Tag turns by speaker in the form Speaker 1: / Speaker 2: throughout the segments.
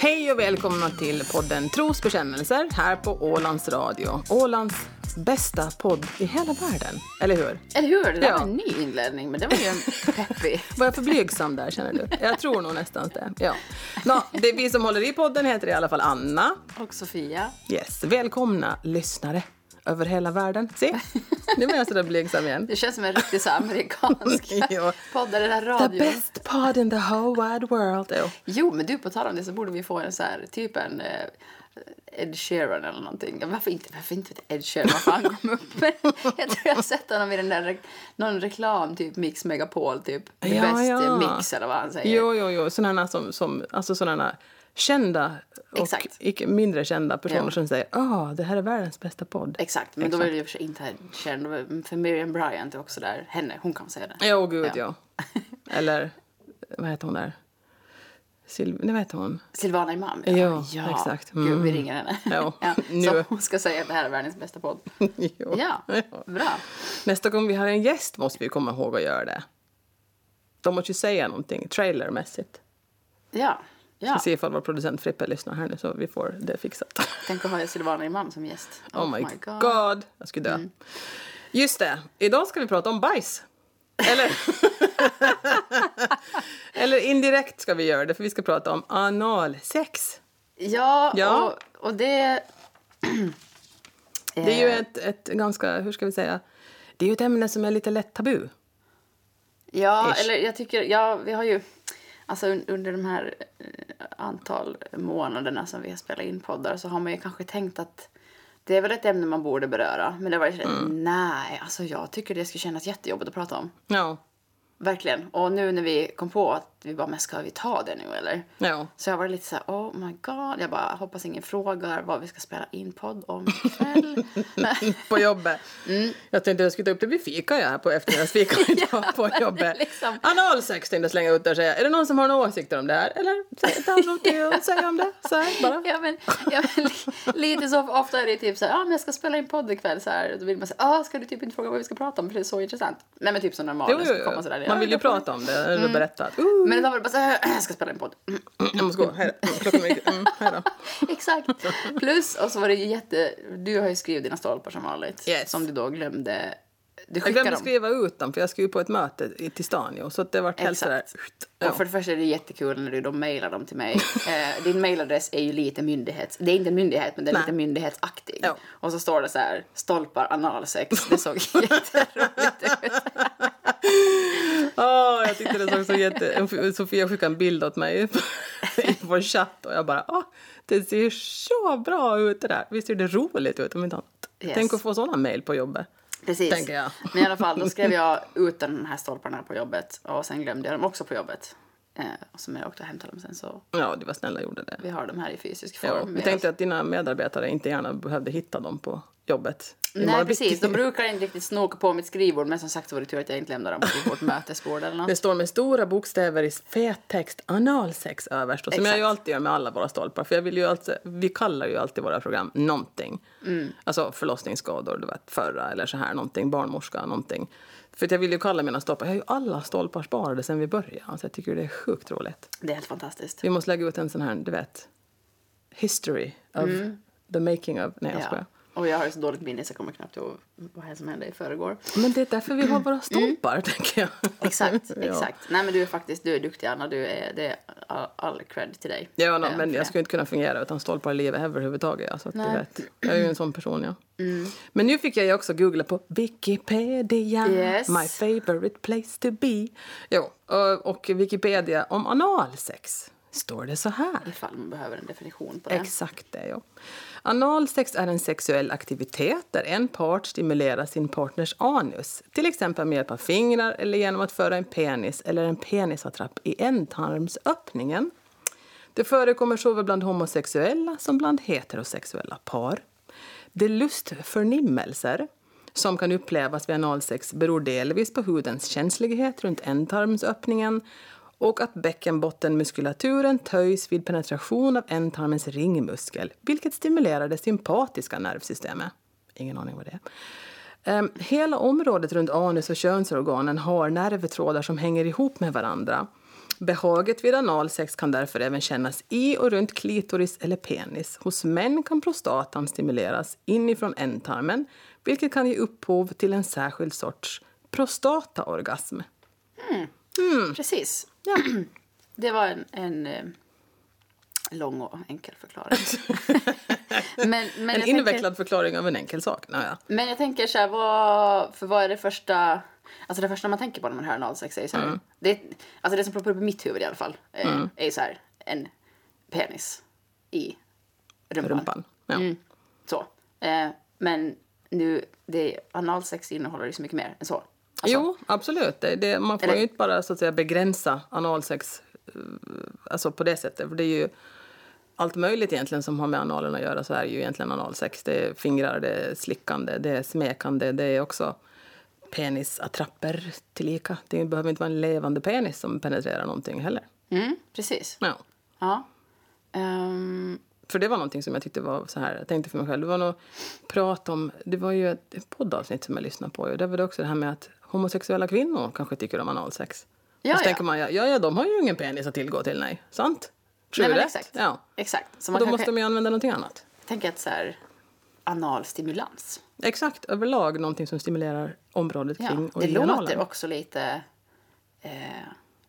Speaker 1: Hej och välkomna till podden Trosbekännelser här på Ålands Radio. Ålands bästa podd i hela världen, eller hur?
Speaker 2: Eller hur? Det där
Speaker 1: Ja.
Speaker 2: var en ny inledning, men det var ju en peppig.
Speaker 1: Var jag för blygsam där känner du? Jag tror nog nästan det. Ja. Nå, det är vi som håller i podden heter i alla fall Anna.
Speaker 2: Och Sofia.
Speaker 1: Yes, välkomna lyssnare över hela världen. Se, nu var jag sådär blygsam igen.
Speaker 2: Det känns som en riktig så amerikansk
Speaker 1: Ja.
Speaker 2: podd, det där
Speaker 1: The
Speaker 2: radion.
Speaker 1: best pod in the whole wide world. Jo.
Speaker 2: Jo, men du, på tal om det så borde vi få en så här, typ en eh, Ed Sheeran eller någonting. Ja, Varför inte, varför inte ett Ed Sheeran? Varför han kom upp med? Jag tror jag har sett honom i den där re- någon reklam, typ Mix Megapol, typ. The
Speaker 1: Ja,
Speaker 2: best
Speaker 1: ja.
Speaker 2: eh, mix eller vad han säger.
Speaker 1: Jo, jo, jo. Sådana som, som, alltså sådana kända och
Speaker 2: Exakt.
Speaker 1: icke mindre kända personer
Speaker 2: Ja.
Speaker 1: som säger ah, det här är världens bästa podd.
Speaker 2: Exakt, men då är det ju för sig inte Ed Sheeran. då var- För Miriam Bryant är också där. Henne, hon kan säga det.
Speaker 1: Jo, gud ja. Eller, vad heter hon där? Silv... Nej, vad heter hon?
Speaker 2: Silvana Imam?
Speaker 1: Ja, exakt. Mm.
Speaker 2: Gud, vi ringer henne.
Speaker 1: Ja, nu.
Speaker 2: Så hon ska säga att det här är världens bästa podd.
Speaker 1: jo.
Speaker 2: Ja, bra.
Speaker 1: Nästa gång vi har en gäst måste vi komma ihåg att göra det. De måste ju säga någonting trailermässigt.
Speaker 2: Ja,
Speaker 1: Vi
Speaker 2: ja.
Speaker 1: ser ifall vår producent Frippe lyssnar här nu så vi får det fixat.
Speaker 2: Tänk att ha Silvana Imam som gäst.
Speaker 1: Oh, my god. Mm. Jag skulle dö. Just det, idag ska vi prata om bajs. Eller, Eller indirekt ska vi göra det, för vi ska prata om analsex.
Speaker 2: Ja,
Speaker 1: Ja.
Speaker 2: Och, och det... Eh,
Speaker 1: Det är ju ett, ett ganska, hur ska vi säga, det är ju ett ämne som är lite lätt tabu.
Speaker 2: Ja,
Speaker 1: Ish.
Speaker 2: eller jag tycker, ja, vi har ju, alltså un- under de här eh, antal månaderna som vi har spelat in poddar så har man ju kanske tänkt att det är väl ett ämne man borde beröra. Men det var ju sådär,
Speaker 1: Mm.
Speaker 2: nej, alltså jag tycker det skulle kännas jättejobbigt att prata om.
Speaker 1: Ja,
Speaker 2: Verkligen. Och nu när vi kom på att vi bara, men ska vi ta det nu eller?
Speaker 1: ja.
Speaker 2: Så jag var lite så här, oh my god. Jag bara, hoppas ingen frågar vad vi ska spela in podd om ikväll.
Speaker 1: På jobbet. Jag tänkte jag skulle ta upp det vid fika jag här på eftermiddagsfika idag på jobbet.
Speaker 2: liksom.
Speaker 1: Analsex tänkte jag slänga ut där och säga, är det någon som har några åsikter om det här? Eller säg- ta något till att säga om det, så här bara.
Speaker 2: ja, men, ja, men, li- lite så ofta är det typ så här, ah, men jag ska spela in podd ikväll. Så här, då vill man säga, ah, ska du typ inte fråga vad vi ska prata om för det är så intressant. Nej men typ som normalt.
Speaker 1: Jo, jo, jo. Man vill ju prata om det eller berätta Mm. att uh,
Speaker 2: Men då var det bara så här, jag ska spela in podd. Mm.
Speaker 1: jag måste gå, hej då. Klockan är mm, hej då.
Speaker 2: Exakt. Plus, och så var det ju jätte, du har ju skrivit dina stolpar som vanligt.
Speaker 1: Yes.
Speaker 2: Som du då glömde, du
Speaker 1: Jag
Speaker 2: skickade
Speaker 1: glömde
Speaker 2: dem.
Speaker 1: skriva ut dem för jag skulle ju på ett möte i- till stan ju, så att det vart helt sådär.
Speaker 2: Exakt.
Speaker 1: Ja.
Speaker 2: Och för det första är det jättekul när du då mailar dem till mig. eh, din mailadress är ju lite myndighets... Det är inte en myndighet, men den är
Speaker 1: Nej.
Speaker 2: lite myndighetsaktig.
Speaker 1: Ja.
Speaker 2: Och så står det så här, stolpar analsex. Det såg jätteroligt ut.
Speaker 1: Åh, Ah, jag tyckte det såg så jätte... Sofia skickade en bild åt mig i vår chatt och jag bara åh, det ser så bra ut det där. Visst ser det roligt ut om inte annat?
Speaker 2: Yes.
Speaker 1: Tänk att få sådana mejl på jobbet.
Speaker 2: Precis.
Speaker 1: Tänker jag.
Speaker 2: Men i alla fall, då skrev jag ut de här stolparna på jobbet. Och sen glömde jag dem också på jobbet. Eh, och så när jag åkte och hämtade dem sen så
Speaker 1: Ja, du var snälla och gjorde det.
Speaker 2: vi har dem här i fysisk form.
Speaker 1: Ja,
Speaker 2: med
Speaker 1: vi
Speaker 2: oss.
Speaker 1: tänkte att dina medarbetare inte gärna behövde hitta dem på jobbet.
Speaker 2: Nej,
Speaker 1: Imorgon
Speaker 2: precis.
Speaker 1: bitti.
Speaker 2: De brukar inte riktigt snoka på mitt skrivbord. Men som sagt så var det tur att jag inte lämnade dem på vårt mötesbord eller något.
Speaker 1: Det står med stora bokstäver i fet text analsex överst. Och som jag ju
Speaker 2: Exakt.
Speaker 1: alltid gör med alla våra stolpar. För jag vill ju alltid, vi kallar ju alltid våra program någonting.
Speaker 2: Mm.
Speaker 1: Alltså förlossningsskador, du vet, förra eller så här någonting, barnmorska någonting. För att jag vill ju kalla mina stolpar, jag har ju alla stolpar sparade sedan vi började. Så jag tycker det är sjukt roligt.
Speaker 2: Det är helt fantastiskt.
Speaker 1: Vi måste lägga ut en sån här, du vet, history of
Speaker 2: Mm.
Speaker 1: the making of, nej jag skojar.
Speaker 2: Och jag har ju så dåligt minne så jag kommer knappt ihåg vad som hände i förrgår.
Speaker 1: Men det är därför vi har våra stolpar, tänker jag.
Speaker 2: Mm. Exakt,
Speaker 1: Ja.
Speaker 2: exakt. Nej men du är faktiskt, du är duktig Anna, du är, det är all, all cred till dig.
Speaker 1: Ja, no,
Speaker 2: Eh,
Speaker 1: men
Speaker 2: för
Speaker 1: jag
Speaker 2: det.
Speaker 1: skulle inte kunna fungera utan stolpar i livet överhuvudtaget. Alltså, att du
Speaker 2: Nej.
Speaker 1: vet. Jag är ju en sån person, ja. Men nu fick jag ju också googla på Wikipedia,
Speaker 2: Yes.
Speaker 1: my favorite place to be. Jo, ö, och Wikipedia om analsex står det så här.
Speaker 2: Ifall man behöver en definition på det.
Speaker 1: Exakt det, ja. Analsex är en sexuell aktivitet där en part stimulerar sin partners anus, till exempel med hjälp av fingrar eller genom att föra en penis eller en penisattrapp i ändtarmsöppningen. Det förekommer såväl bland homosexuella som bland heterosexuella par. De lustförnimmelser som kan upplevas vid analsex beror delvis på hudens känslighet runt ändtarmsöppningen och att bäckenbottenmuskulaturen töjs vid penetration av ändtarmens ringmuskel vilket stimulerar det sympatiska nervsystemet. Ingen aning vad det är. Ehm, hela området runt anus och könsorganen har nervtrådar som hänger ihop med varandra. Behaget vid analsex kan därför även kännas i och runt klitoris eller penis. Hos män kan prostatan stimuleras inifrån ändtarmen vilket kan ge upphov till en särskild sorts prostataorgasm. Mm.
Speaker 2: Precis. Det var en, en eh, lång och enkel förklaring. men, men jag
Speaker 1: En
Speaker 2: tänker-
Speaker 1: invecklad förklaring av en enkel sak. Naja.
Speaker 2: Men jag tänker så här, vad, för vad är det första, alltså det första man tänker på när man hör analsex är ju så
Speaker 1: Mm.
Speaker 2: här, det, alltså det som ploppar upp i mitt huvud i alla fall, eh, är ju så här, en penis i rumpan.
Speaker 1: Rumpan. Ja.
Speaker 2: Mm, så. Eh, men nu, det, analsex innehåller ju så mycket mer än så. Alltså,
Speaker 1: Jo, absolut. Det, det, man får
Speaker 2: Eller-
Speaker 1: ju inte bara så att säga, begränsa analsex eh, alltså på det sättet. För det är ju allt möjligt egentligen som har med analen att göra så är ju egentligen analsex. Det är fingrar, det är slickande, det är smekande, det är också penisattrapper tillika. Det behöver inte vara en levande penis som penetrerar någonting heller.
Speaker 2: Mm, precis.
Speaker 1: Ja.
Speaker 2: Ja. Ehm,
Speaker 1: För det var någonting som jag tyckte var så här, jag tänkte för mig själv, det var nog prat om, det var ju ett ett poddavsnitt som jag lyssnade på och där var det också det här med att homosexuella kvinnor kanske tycker om analsex.
Speaker 2: Ja,
Speaker 1: och så
Speaker 2: ja.
Speaker 1: tänker man, ja, ja, ja, de har ju ingen penis att tillgå till, nej. Sant? Tror
Speaker 2: nej,
Speaker 1: du
Speaker 2: men
Speaker 1: rätt?
Speaker 2: exakt.
Speaker 1: Ja.
Speaker 2: Exakt. Så
Speaker 1: Och då
Speaker 2: man kanske,
Speaker 1: måste de ju använda någonting annat.
Speaker 2: tänker att så här, analstimulans.
Speaker 1: Exakt, överlag någonting som stimulerar området
Speaker 2: Ja,
Speaker 1: kring
Speaker 2: det
Speaker 1: originalen.
Speaker 2: låter också lite eh,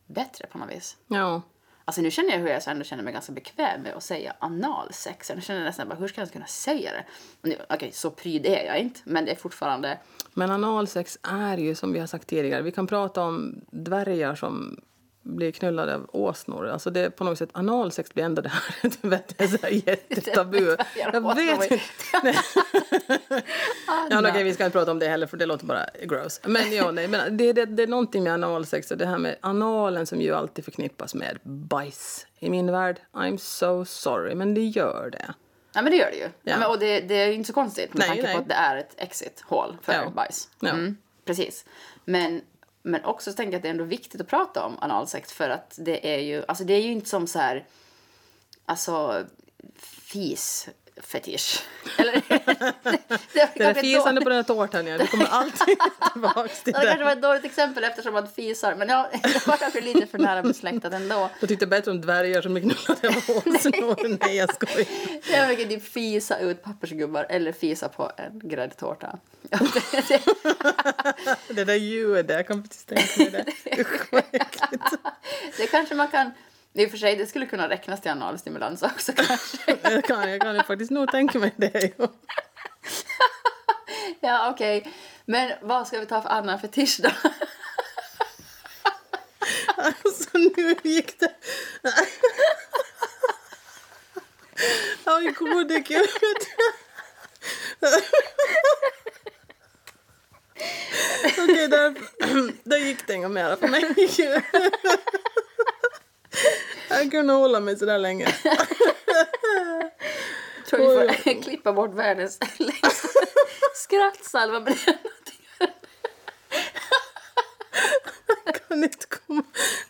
Speaker 2: bättre på något vis.
Speaker 1: Ja.
Speaker 2: Alltså nu känner jag hur jag så ändå känner mig ganska bekväm med att säga analsex. Nu känner jag nästan bara, hur ska jag ens kunna säga det? Och nu- Okej, så pryd är jag inte, men det är fortfarande...
Speaker 1: Men analsex är ju, som vi har sagt tidigare, vi kan prata om dvärgar som blir knullade av åsnor. Alltså det är på något sätt, analsex blir ändå det här, du vet, det är så här jättetabu. Jag vet inte. Nej. Ja, men okej, vi ska inte prata om det heller för det låter bara gross. Men ja, nej, men det, det, det är någonting med analsex och det här med analen som ju alltid förknippas med bajs. I min värld, I'm so sorry, men det gör det.
Speaker 2: Ja, men det gör det ju. Ja. men, och det, det är ju inte så konstigt med
Speaker 1: Nej,
Speaker 2: tanke
Speaker 1: nej.
Speaker 2: på att det är ett exit-hål för
Speaker 1: Ja.
Speaker 2: bajs.
Speaker 1: Ja.
Speaker 2: Mm, precis. Men, men också så tänker jag att det är ändå viktigt att prata om analsex för att det är ju, alltså det är ju inte som så här, alltså fis-fetisch. Eller? det,
Speaker 1: Det där
Speaker 2: kanske ett
Speaker 1: fisande på den här tårtan, ja, det kommer alltid tillbaks till
Speaker 2: Ja, Det
Speaker 1: det.
Speaker 2: kanske var ett dåligt exempel eftersom att fisar, men ja, det var kanske lite för nära besläktat ändå.
Speaker 1: Jag tyckte bättre om dvärgar som blir knullade av åsnor. Nej, jag skojar.
Speaker 2: Jag brukar typ fisa ut pappersgubbar eller fisa på en gräddtårta.
Speaker 1: Det där ljudet, jag kan precis tänka mig det. Usch, vad äckligt.
Speaker 2: Det kanske man kan, i och för sig det skulle kunna räknas till analstimulans också kanske.
Speaker 1: Jag kan, jag kan faktiskt nog tänka mig det. ja.
Speaker 2: Ja okej, men vad ska vi ta för annan fetisch då?
Speaker 1: Alltså, nu gick det... Aj, gode gud. Okej, där, där gick det inget mera för mig. Jag kunde hålla mig så där länge.
Speaker 2: Jag tror vi får klippa bort världens längsta skrattsalva. Men det är någonting.
Speaker 1: kan inte komma.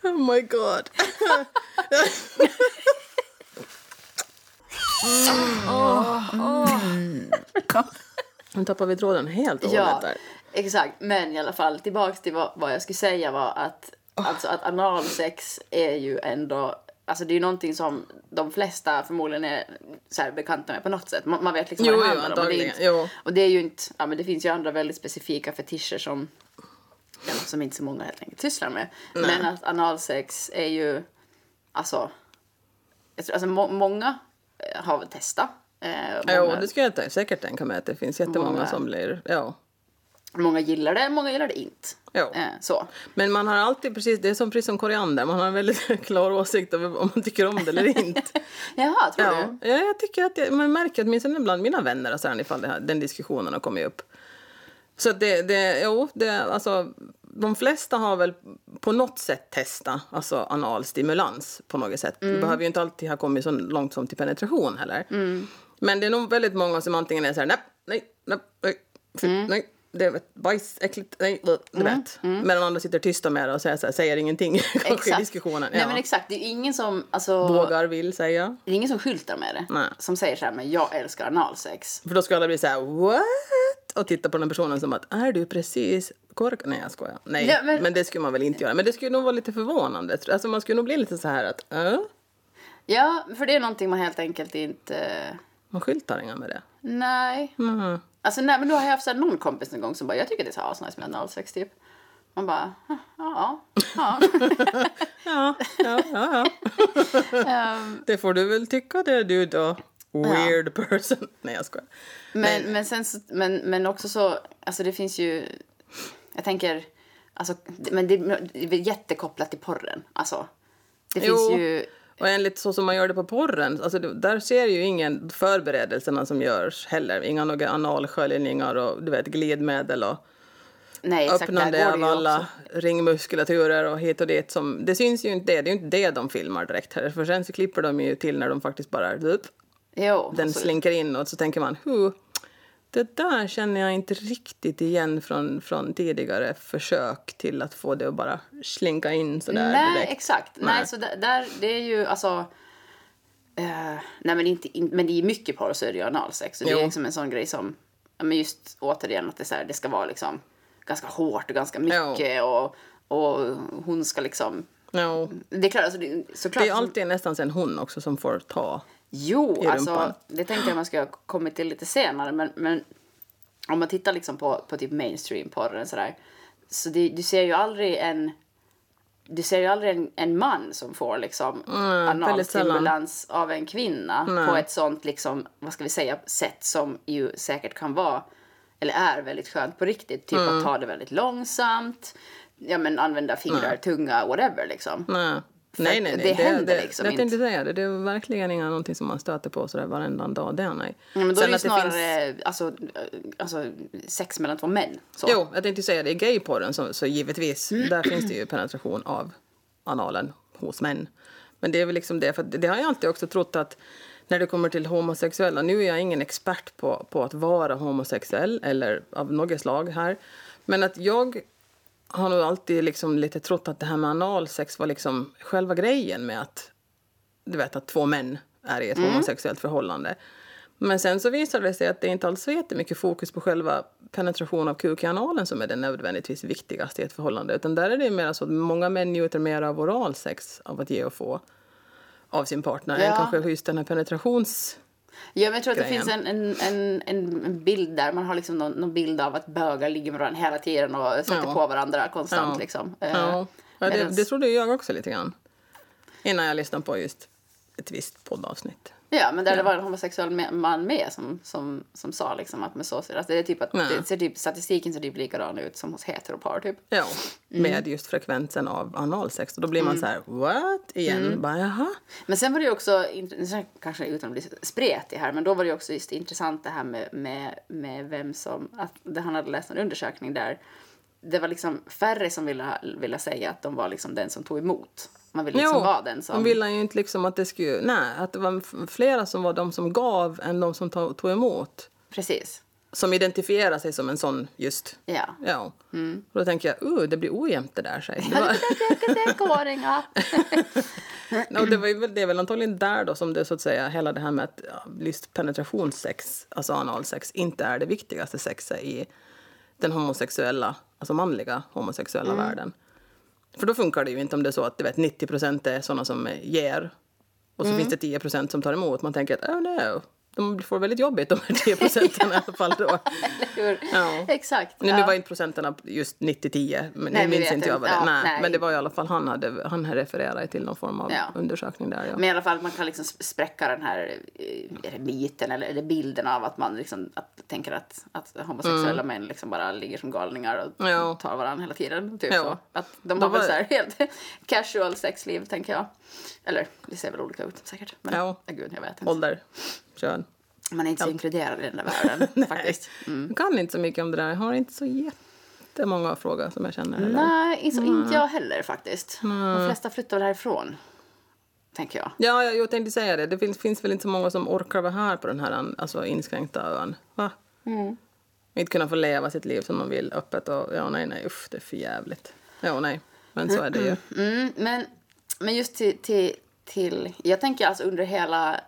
Speaker 1: Oh my god. Mm. Nu tappar vi tråden helt och hållet
Speaker 2: Ja,
Speaker 1: där.
Speaker 2: exakt. Men i alla fall tillbaks till vad, vad jag skulle säga var att,
Speaker 1: Oh.
Speaker 2: alltså, att analsex är ju ändå Alltså det är ju någonting som de flesta förmodligen är så här bekanta med på något sätt. Man, man vet liksom
Speaker 1: Jo,
Speaker 2: vad det
Speaker 1: jo,
Speaker 2: handlar om. Och det, är
Speaker 1: antagligen.
Speaker 2: inte,
Speaker 1: Jo.
Speaker 2: och det är ju inte, ja men det finns ju andra väldigt specifika fetischer som, ja, som inte så många helt enkelt sysslar med. Men att analsex är ju, alltså, jag tror, alltså må, många eh, har väl testat. Eh, och
Speaker 1: Jo,
Speaker 2: många-
Speaker 1: det ska jag inte- säkert tänka mig att det finns jättemånga
Speaker 2: Många.
Speaker 1: som blir... Ja.
Speaker 2: Många gillar det, många gillar det inte.
Speaker 1: Jo.
Speaker 2: Eh, så.
Speaker 1: Men man har alltid precis, det är som precis som koriander, man har en väldigt klar åsikt om om man tycker om det eller inte.
Speaker 2: Jaha, tror
Speaker 1: Ja, ja, jag tycker att jag, man märker åtminstone bland mina vänner och så här, ifall det här, den diskussionen har kommit upp. Så att det, det, jo, det, alltså, de flesta har väl på något sätt testat alltså anal stimulans på något sätt.
Speaker 2: Mm.
Speaker 1: Det behöver ju inte alltid ha kommit så långt som till penetration heller.
Speaker 2: Mm.
Speaker 1: Men det är nog väldigt många som antingen är så här, nej, nej, nej, nej, fy,
Speaker 2: Mm.
Speaker 1: nej. Det är ett bajs, äckligt, nej, du vet. Medan andra sitter tysta med det och säger, så här, säger ingenting
Speaker 2: du?
Speaker 1: kanske i diskussionen.
Speaker 2: Nej
Speaker 1: Ja.
Speaker 2: men exakt, det är ju ingen som, alltså,
Speaker 1: Vågar, vill säga.
Speaker 2: det är ingen som skyltar med det.
Speaker 1: Nej.
Speaker 2: Som säger så här, men jag älskar analsex.
Speaker 1: För då ska alla bli så här, what? och titta på den personen som att är du precis korkad? Nej, jag skojar. Nej,
Speaker 2: Ja, men-
Speaker 1: men... det skulle man väl inte göra. Men det skulle nog vara lite förvånande. Alltså man skulle nog bli lite så här att äh,
Speaker 2: Ja, för det är någonting man helt enkelt inte...
Speaker 1: man skyltar inga med det.
Speaker 2: Nej.
Speaker 1: Mhm.
Speaker 2: Alltså nej, men då har jag haft så här någon kompis någon gång som bara, jag tycker det är så asnice med en 06 typ. Man bara, ja, ja. ja.
Speaker 1: Ja, ja, ja, ja.
Speaker 2: Ehm,
Speaker 1: Det får du väl tycka det du då. Weird person. Nej, jag skojar.
Speaker 2: men, men, sen så, men, men också så, alltså det finns ju, jag tänker, alltså, det- men det, det är jättekopplat till porren. Alltså, det finns
Speaker 1: Jo.
Speaker 2: ju,
Speaker 1: Och enligt så som man gör det på porren, alltså det, där ser ju ingen förberedelserna som görs heller. Inga några analsköljningar och du vet glidmedel och
Speaker 2: nej exakt,
Speaker 1: öppnande
Speaker 2: där går det
Speaker 1: av
Speaker 2: ju också.
Speaker 1: alla ringmuskulaturer och hit och dit. Som, det syns ju inte det, det är ju inte det de filmar direkt här. För sen så klipper de ju till när de faktiskt bara upp,
Speaker 2: Jo,
Speaker 1: den
Speaker 2: alltså,
Speaker 1: slinker in och så tänker man hu, det där känner jag inte riktigt igen från, från tidigare försök till att få det att bara slinka in sådär
Speaker 2: Nej,
Speaker 1: direkt.
Speaker 2: exakt. Nej,
Speaker 1: Nej.
Speaker 2: så där, där, det är ju alltså... eh, nej, men, inte, in, men i mycket porr så är det ju analsex. Och det är
Speaker 1: Jo.
Speaker 2: liksom en sån grej som... Ja, men just återigen att det, är så här, det ska vara liksom ganska hårt och ganska mycket. Och, och hon ska liksom...
Speaker 1: No.
Speaker 2: Det är klart, alltså, det, såklart.
Speaker 1: Det är alltid nästan sen hon också som får ta.
Speaker 2: Jo,
Speaker 1: i
Speaker 2: alltså,
Speaker 1: rumpan.
Speaker 2: det tänkte jag man ska ha kommit till lite senare. Men, men om man tittar liksom på, på typ mainstream-porren sådär. Så det, du ser ju aldrig en... Du ser ju aldrig en, en man som får liksom analstimulans av en kvinna på ett sånt liksom, vad ska vi säga, sätt som ju säkert kan vara, eller är väldigt skönt på riktigt. Typ
Speaker 1: Mm.
Speaker 2: att ta det väldigt långsamt, ja men använda fingrar, tunga, whatever liksom.
Speaker 1: Nej, nej, nej. nej.
Speaker 2: det händer liksom
Speaker 1: det,
Speaker 2: inte.
Speaker 1: Jag tänkte säga det. Det är verkligen inga någonting som man stöter på sådär varenda dag. Det är nej.
Speaker 2: Ja, Mm, men då
Speaker 1: Sen
Speaker 2: är det ju
Speaker 1: att finns-
Speaker 2: snarare alltså, eh, alltså, sex mellan två män. Så.
Speaker 1: Jo, jag tänkte säga det. I gayporren så, så givetvis, där finns det ju penetration av analen hos män. Men det är väl liksom det, för att det har jag alltid också trott att när det kommer till homosexuella, nu är jag ingen expert på, på att vara homosexuell eller av något slag här, men att jag har nog alltid liksom lite trott att det här med analsex var liksom själva grejen med att du vet att två män är i ett
Speaker 2: Mm.
Speaker 1: homosexuellt förhållande. Men sen så visar det sig att det inte alls är så jättemycket fokus på själva penetration av kuk i analen som är det nödvändigtvis viktigaste i ett förhållande. Utan där är det ju mer så att många män njuter mer av oralsex, av att ge och få av sin partner,
Speaker 2: Ja.
Speaker 1: än kanske just den här penetrations...
Speaker 2: Ja, men jag tror att det
Speaker 1: Grejen.
Speaker 2: finns en, en, en, en en bild där. Man har liksom någon, någon bild av att bögar ligger med varandra hela tiden och sätter
Speaker 1: Ja.
Speaker 2: på varandra konstant.
Speaker 1: Ja.
Speaker 2: Liksom. Eh,
Speaker 1: Ja, ja det,
Speaker 2: medans-
Speaker 1: det trodde ju jag också lite grann. Innan jag lyssnade på just ett visst poddavsnitt.
Speaker 2: ja, men där det var en homosexuell me- man med som, som, som sa liksom att med så ser det, alltså det är typ att
Speaker 1: Ja.
Speaker 2: det ser typ, statistiken ser typ likadan ut som hos heteropar typ.
Speaker 1: Ja, med just frekvensen av analsex. Och då blir
Speaker 2: Mm.
Speaker 1: man så här, what? Igen, bara jaha.
Speaker 2: Men sen var det ju också, int- sen kanske utan att bli spretig här, men då var det ju också just intressant det här med, med, med vem som, att det- han hade läst en undersökning där det var liksom färre som ville, ville säga att de var liksom den som tog emot. Man ville liksom vara den som...
Speaker 1: de ville ju inte liksom att det skulle... Nej, att det var f- flera som var de som gav än de som tog, tog emot.
Speaker 2: Precis.
Speaker 1: Som identifierar sig som en sån just.
Speaker 2: Ja.
Speaker 1: Ja.
Speaker 2: Mm.
Speaker 1: Och då tänker jag, uh, det blir ojämnt det där. Sig. Det, var,
Speaker 2: Dekåringar.
Speaker 1: och det, var ju, väl- det är väl antagligen där då som det så att säga, hela det här med att ja, just penetrationssex, alltså analsex, inte är det viktigaste sexet i den homosexuella, alltså manliga homosexuella
Speaker 2: Mm.
Speaker 1: världen. För då funkar det ju inte om det är så att du vet, 90 är såna som ger och så
Speaker 2: Mm.
Speaker 1: finns det 10 som tar emot. Man tänker att oh no, de får väldigt jobbigt de här 10 procenten i alla fall då.
Speaker 2: Eller hur?
Speaker 1: Ja.
Speaker 2: Exakt.
Speaker 1: Nu,
Speaker 2: ja.
Speaker 1: nu var inte procenterna just 90-10, men
Speaker 2: Nej,
Speaker 1: nu
Speaker 2: vi
Speaker 1: minns
Speaker 2: vet
Speaker 1: inte jag
Speaker 2: inte.
Speaker 1: vad det
Speaker 2: Ja,
Speaker 1: nej,
Speaker 2: nej.
Speaker 1: Men det var i alla fall han hade, han här refererade till någon form av
Speaker 2: Ja.
Speaker 1: undersökning där. Ja.
Speaker 2: Men i alla fall, man kan liksom sp- spräcka den här eh, är det myten eller, eller bilden av att man liksom, att, tänker att, att homosexuella män liksom bara ligger som galningar och
Speaker 1: Mm. Ja.
Speaker 2: tar varandra hela tiden. Typ
Speaker 1: Ja.
Speaker 2: så. Att de
Speaker 1: De
Speaker 2: har väl
Speaker 1: var-
Speaker 2: så här helt casual sexliv, tänker jag. Eller, det ser väl olika ut säkert. Men
Speaker 1: Ja.
Speaker 2: ja, gud, jag vet inte.
Speaker 1: Ålder, kön.
Speaker 2: Man är inte så inkluderad i den där världen Mm, faktiskt.
Speaker 1: Jag kan inte så mycket om det där. Jag har inte så jättemånga frågor som jag känner. heller.
Speaker 2: Nej, inte, inte jag heller faktiskt. De flesta flyttar väl härifrån, tänker jag.
Speaker 1: Ja, jag, jag tänkte säga det. Det finns, finns väl inte så många som orkar vara här på den här alltså, inskränkta ön. Va?
Speaker 2: Mm.
Speaker 1: Inte kunna få leva sitt liv som de vill öppet. Och, ja, nej, nej, usch, det är för jävligt. Ja, nej, men så är det ju.
Speaker 2: Mm, men, men just till, till, till... Jag tänker alltså under hela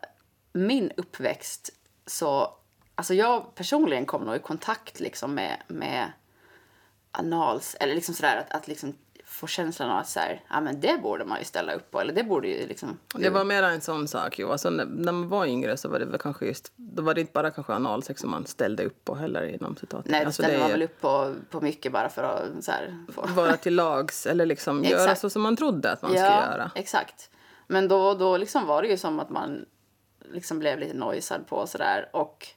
Speaker 2: min uppväxt så Alltså jag personligen kom nog i kontakt liksom med, med anals, eller liksom sådär att, att liksom få känslan av att så här, ja men det borde man ju ställa upp på, eller det borde ju liksom...
Speaker 1: Det var mer en sån sak. Jo. Alltså, när, när man var yngre så var det väl kanske just, då var det inte bara kanske analsex som man ställde upp på heller inom citat.
Speaker 2: Nej, det
Speaker 1: alltså,
Speaker 2: ställer
Speaker 1: det
Speaker 2: man
Speaker 1: är
Speaker 2: väl upp på, på mycket bara för att så här, få...
Speaker 1: vara till lags eller liksom göra
Speaker 2: Exakt.
Speaker 1: så som man trodde att man
Speaker 2: ja,
Speaker 1: skulle göra.
Speaker 2: exakt. Men då, då liksom var det ju som att man liksom blev lite nojsad på och sådär. Och,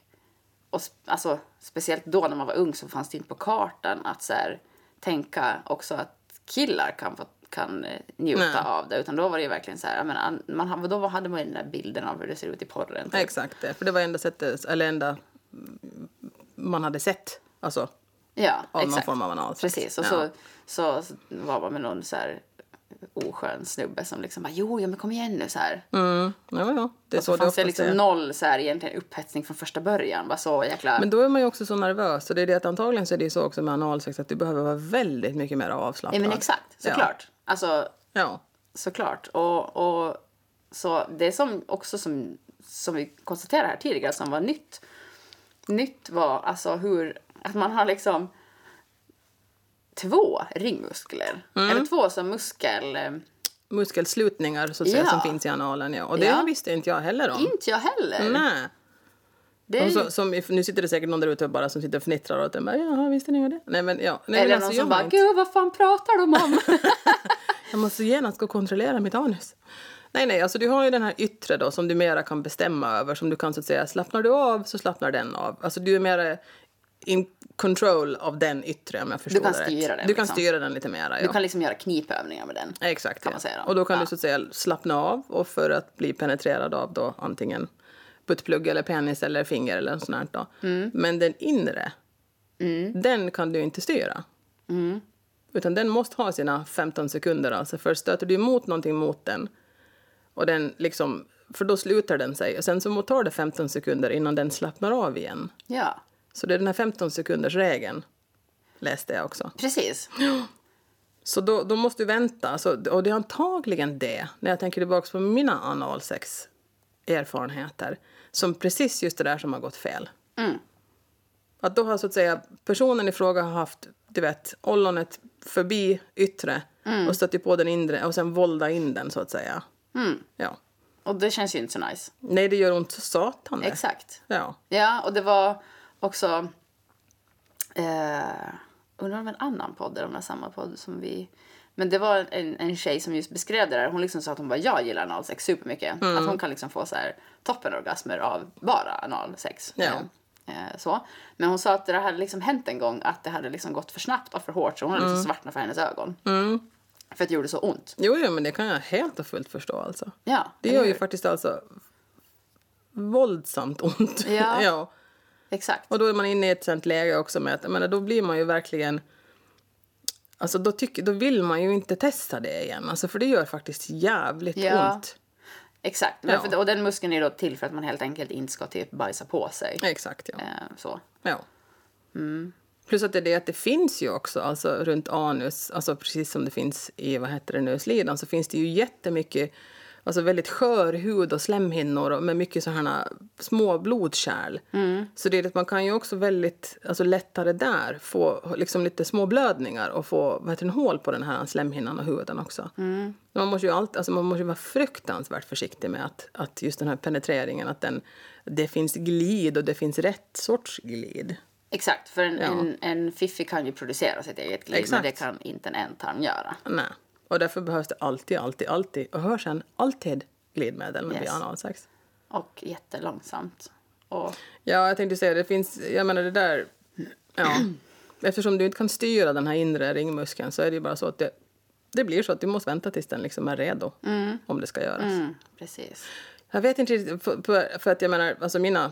Speaker 2: och sp- alltså, speciellt då när man var ung så fanns det inte på kartan att så här, tänka också att killar kan, få, kan eh, njuta
Speaker 1: Nej.
Speaker 2: av det. Utan då var det ju verkligen så här, jag menar, an- man, ha- då hade man ju den där bilden av hur det ser ut i porren. typ.
Speaker 1: Exakt det, för det var enda sättet, eller enda man hade sett. Alltså,
Speaker 2: Ja,
Speaker 1: av någon
Speaker 2: exakt.
Speaker 1: form av analsex.
Speaker 2: Precis, och
Speaker 1: Ja.
Speaker 2: så, så, så var man med någon så här oskön snubbe som liksom bara, jo, ja, men kom igen nu så här.
Speaker 1: mm, ja, ja. Det är
Speaker 2: Så
Speaker 1: så det
Speaker 2: fanns det
Speaker 1: oftast
Speaker 2: liksom
Speaker 1: är.
Speaker 2: noll så här, egentligen upphetsning från första början. Bara så jäkla...
Speaker 1: Men då är man ju också så nervös. Och det är det att antagligen så är det ju så också med analsex att du behöver vara väldigt mycket mer
Speaker 2: ja,
Speaker 1: avslappnad.
Speaker 2: men exakt, såklart. Alltså,
Speaker 1: Ja. ja.
Speaker 2: såklart. Och, och så det som också som, som vi konstaterade här tidigare som var nytt. Nytt var alltså hur, att man har liksom två ringmuskler.
Speaker 1: Mm.
Speaker 2: Eller två som muskel... eh,
Speaker 1: Muskelslutningar så att säga,
Speaker 2: Ja.
Speaker 1: som finns i analen. Ja. Och det
Speaker 2: Ja.
Speaker 1: visste inte jag heller om.
Speaker 2: Inte jag heller.
Speaker 1: Nej.
Speaker 2: Det är
Speaker 1: Mm. Och
Speaker 2: ju-
Speaker 1: så, som, nu sitter det säkert någon där ute och bara som sitter och fnittrar åt den. Bara, Jaha, visste ni vad det? Nej, men, ja. Nej,
Speaker 2: eller
Speaker 1: men alltså,
Speaker 2: någon
Speaker 1: jag
Speaker 2: som
Speaker 1: var
Speaker 2: bara,
Speaker 1: inte-
Speaker 2: gud vad fan pratar de om?
Speaker 1: Jag måste genast gå och kontrollera mitt anus. Nej, nej, alltså du har ju den här yttre då som du mera kan bestämma över. Som du kan så att säga, slappnar du av så slappnar den av. Alltså du är mera in control av den yttre om jag förstår
Speaker 2: kan
Speaker 1: det rätt.
Speaker 2: styra den,
Speaker 1: Du kan
Speaker 2: liksom.
Speaker 1: styra den lite mera, ja.
Speaker 2: du kan liksom göra knipövningar med den.
Speaker 1: Exakt.
Speaker 2: kan
Speaker 1: ja.
Speaker 2: man säga då.
Speaker 1: Och då kan
Speaker 2: Ja.
Speaker 1: du så att säga slappna av och för att bli penetrerad av då antingen buttplugg eller penis eller finger eller sånt här då.
Speaker 2: Mm.
Speaker 1: Men den inre, den kan du inte styra.
Speaker 2: Mm.
Speaker 1: Utan den måste ha sina 15 sekunder alltså. För stöter du emot någonting mot den och den liksom, för då sluter den sig. Och sen så tar det 15 sekunder innan den slappnar av igen.
Speaker 2: Ja,
Speaker 1: Så det är den här 15 sekunders regeln läste jag också.
Speaker 2: precis.
Speaker 1: Så då, då måste du vänta. Så, och det är antagligen det, när jag tänker tillbaka på mina analsex erfarenheter, som precis just det där som har gått fel.
Speaker 2: Mm.
Speaker 1: Att då har så att säga personen i fråga har haft, du vet, ollonet förbi yttre
Speaker 2: Mm.
Speaker 1: och stött på den inre och sen vålda in den så att säga.
Speaker 2: Mm.
Speaker 1: Ja.
Speaker 2: Och det känns ju inte så nice.
Speaker 1: Nej, det gör ont så satan det.
Speaker 2: Exakt.
Speaker 1: Ja.
Speaker 2: Ja, och det var också... Eh, undrar om en annan podd eller om det är samma podd som vi... Men det var en, en tjej som just beskrev det där. Hon liksom sa att hon bara, jag gillar analsex supermycket.
Speaker 1: Mm.
Speaker 2: Att hon kan liksom få så här toppenorgasmer av bara analsex.
Speaker 1: Ja.
Speaker 2: Eh, eh, så. Men hon sa att det där hade liksom hänt en gång att det hade liksom gått för snabbt och för hårt så hon hade
Speaker 1: Mm.
Speaker 2: liksom svartnat för hennes ögon. För att det gjorde så ont.
Speaker 1: Jo, jo, men det kan jag helt och fullt förstå alltså.
Speaker 2: Ja,
Speaker 1: Det
Speaker 2: eller
Speaker 1: gör ju
Speaker 2: hur?
Speaker 1: faktiskt alltså våldsamt ont.
Speaker 2: Ja.
Speaker 1: ja.
Speaker 2: Exakt.
Speaker 1: Och då är man inne i ett sånt läge också med att, jag menar, då blir man ju verkligen... Alltså då, tycker, då vill man ju inte testa det igen, alltså, för det gör faktiskt jävligt
Speaker 2: Ja.
Speaker 1: ont.
Speaker 2: Exakt. Men
Speaker 1: Ja.
Speaker 2: för, och den muskeln är då till för att man helt enkelt inte ska typ bajsa på sig.
Speaker 1: Exakt, ja.
Speaker 2: Eh, så.
Speaker 1: ja. Plus att det, är det, att det finns ju också, alltså runt anus, alltså precis som det finns i vad heter det nu, slidan, så finns det ju jättemycket Alltså väldigt skör hud och slemhinnor och med mycket sådana små blodkärl. Så det är att man kan ju också väldigt alltså lättare där få liksom lite små blödningar och få vad heter det, hål på den här slemhinnan och huden också. Man, måste ju alltid, alltså man måste ju vara fruktansvärt försiktig med att, att just den här penetreringen, att den, det finns glid och det finns rätt sorts glid.
Speaker 2: Exakt, för en,
Speaker 1: Ja.
Speaker 2: en, en fiffi kan ju producera sitt eget glid
Speaker 1: Exakt.
Speaker 2: men det kan inte en ändtarm göra.
Speaker 1: Nej. Och därför behövs det alltid, alltid, alltid och hör sen alltid glidmedel med
Speaker 2: Yes.
Speaker 1: yes. analsex.
Speaker 2: Och jättelångsamt. Och,
Speaker 1: Ja, jag tänkte säga det finns, jag menar det där, ja. Eftersom du inte kan styra den här inre ringmuskeln så är det ju bara så att det, det blir så att du måste vänta tills den liksom är redo om det ska göras.
Speaker 2: mm, precis.
Speaker 1: Jag vet inte riktigt, för, för, för att jag menar, alltså mina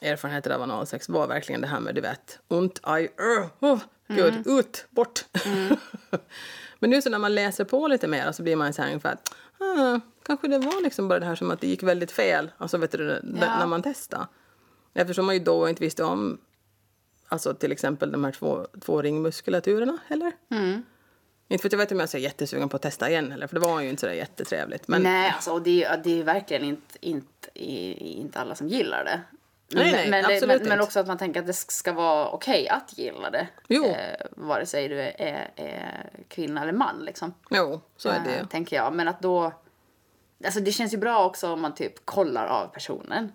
Speaker 1: erfarenheter av analsex var verkligen det här med du vet, ont, aj, öh, oh, gud, ut, bort. Men nu så när man läser på lite mer så blir man så här ungefär att ah, kanske det var liksom bara det här som att det gick väldigt fel, alltså vet du,
Speaker 2: Ja.
Speaker 1: när man testade. Eftersom man ju då inte visste om alltså till exempel de här två, två ringmuskulaturerna heller. Inte för att jag vet om jag är så jättesugen på att testa igen heller, för det var ju inte så där jättetrevligt. Men
Speaker 2: Nej, alltså, och det är ju det är ju verkligen inte, inte, i- inte alla som gillar det.
Speaker 1: Nej, nej,
Speaker 2: men, det,
Speaker 1: absolut
Speaker 2: men,
Speaker 1: inte.
Speaker 2: men också att man tänker att det ska vara okej att gilla det.
Speaker 1: Jo.
Speaker 2: Eh, vare sig du är, är, är kvinna eller man. Liksom.
Speaker 1: Jo, så är det
Speaker 2: Eh, tänker jag. Men att då... Alltså det känns ju bra också om man typ kollar av personen.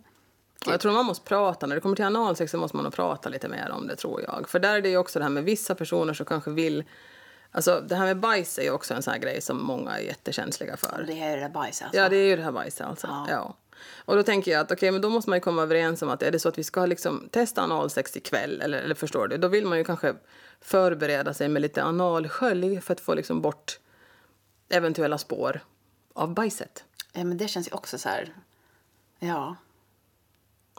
Speaker 1: Ja, jag tror man måste prata, när det kommer till analsex så måste man nog prata lite mer om det tror jag. För där är det ju också det här med vissa personer som kanske vill, alltså det här med bajs är ju också en sån här grej som många är jättekänsliga för.
Speaker 2: Det är ju det där bajset alltså.
Speaker 1: Ja, det är ju det här bajset alltså. Ja.
Speaker 2: Ja.
Speaker 1: Och då tänker jag att okej, men då måste man ju komma överens om att är det så att vi ska liksom testa analsex ikväll, eller, eller förstår du, då vill man ju kanske förbereda sig med lite analskölj för att få liksom bort eventuella spår av bajset.
Speaker 2: Ja, men det känns ju också så här... Ja.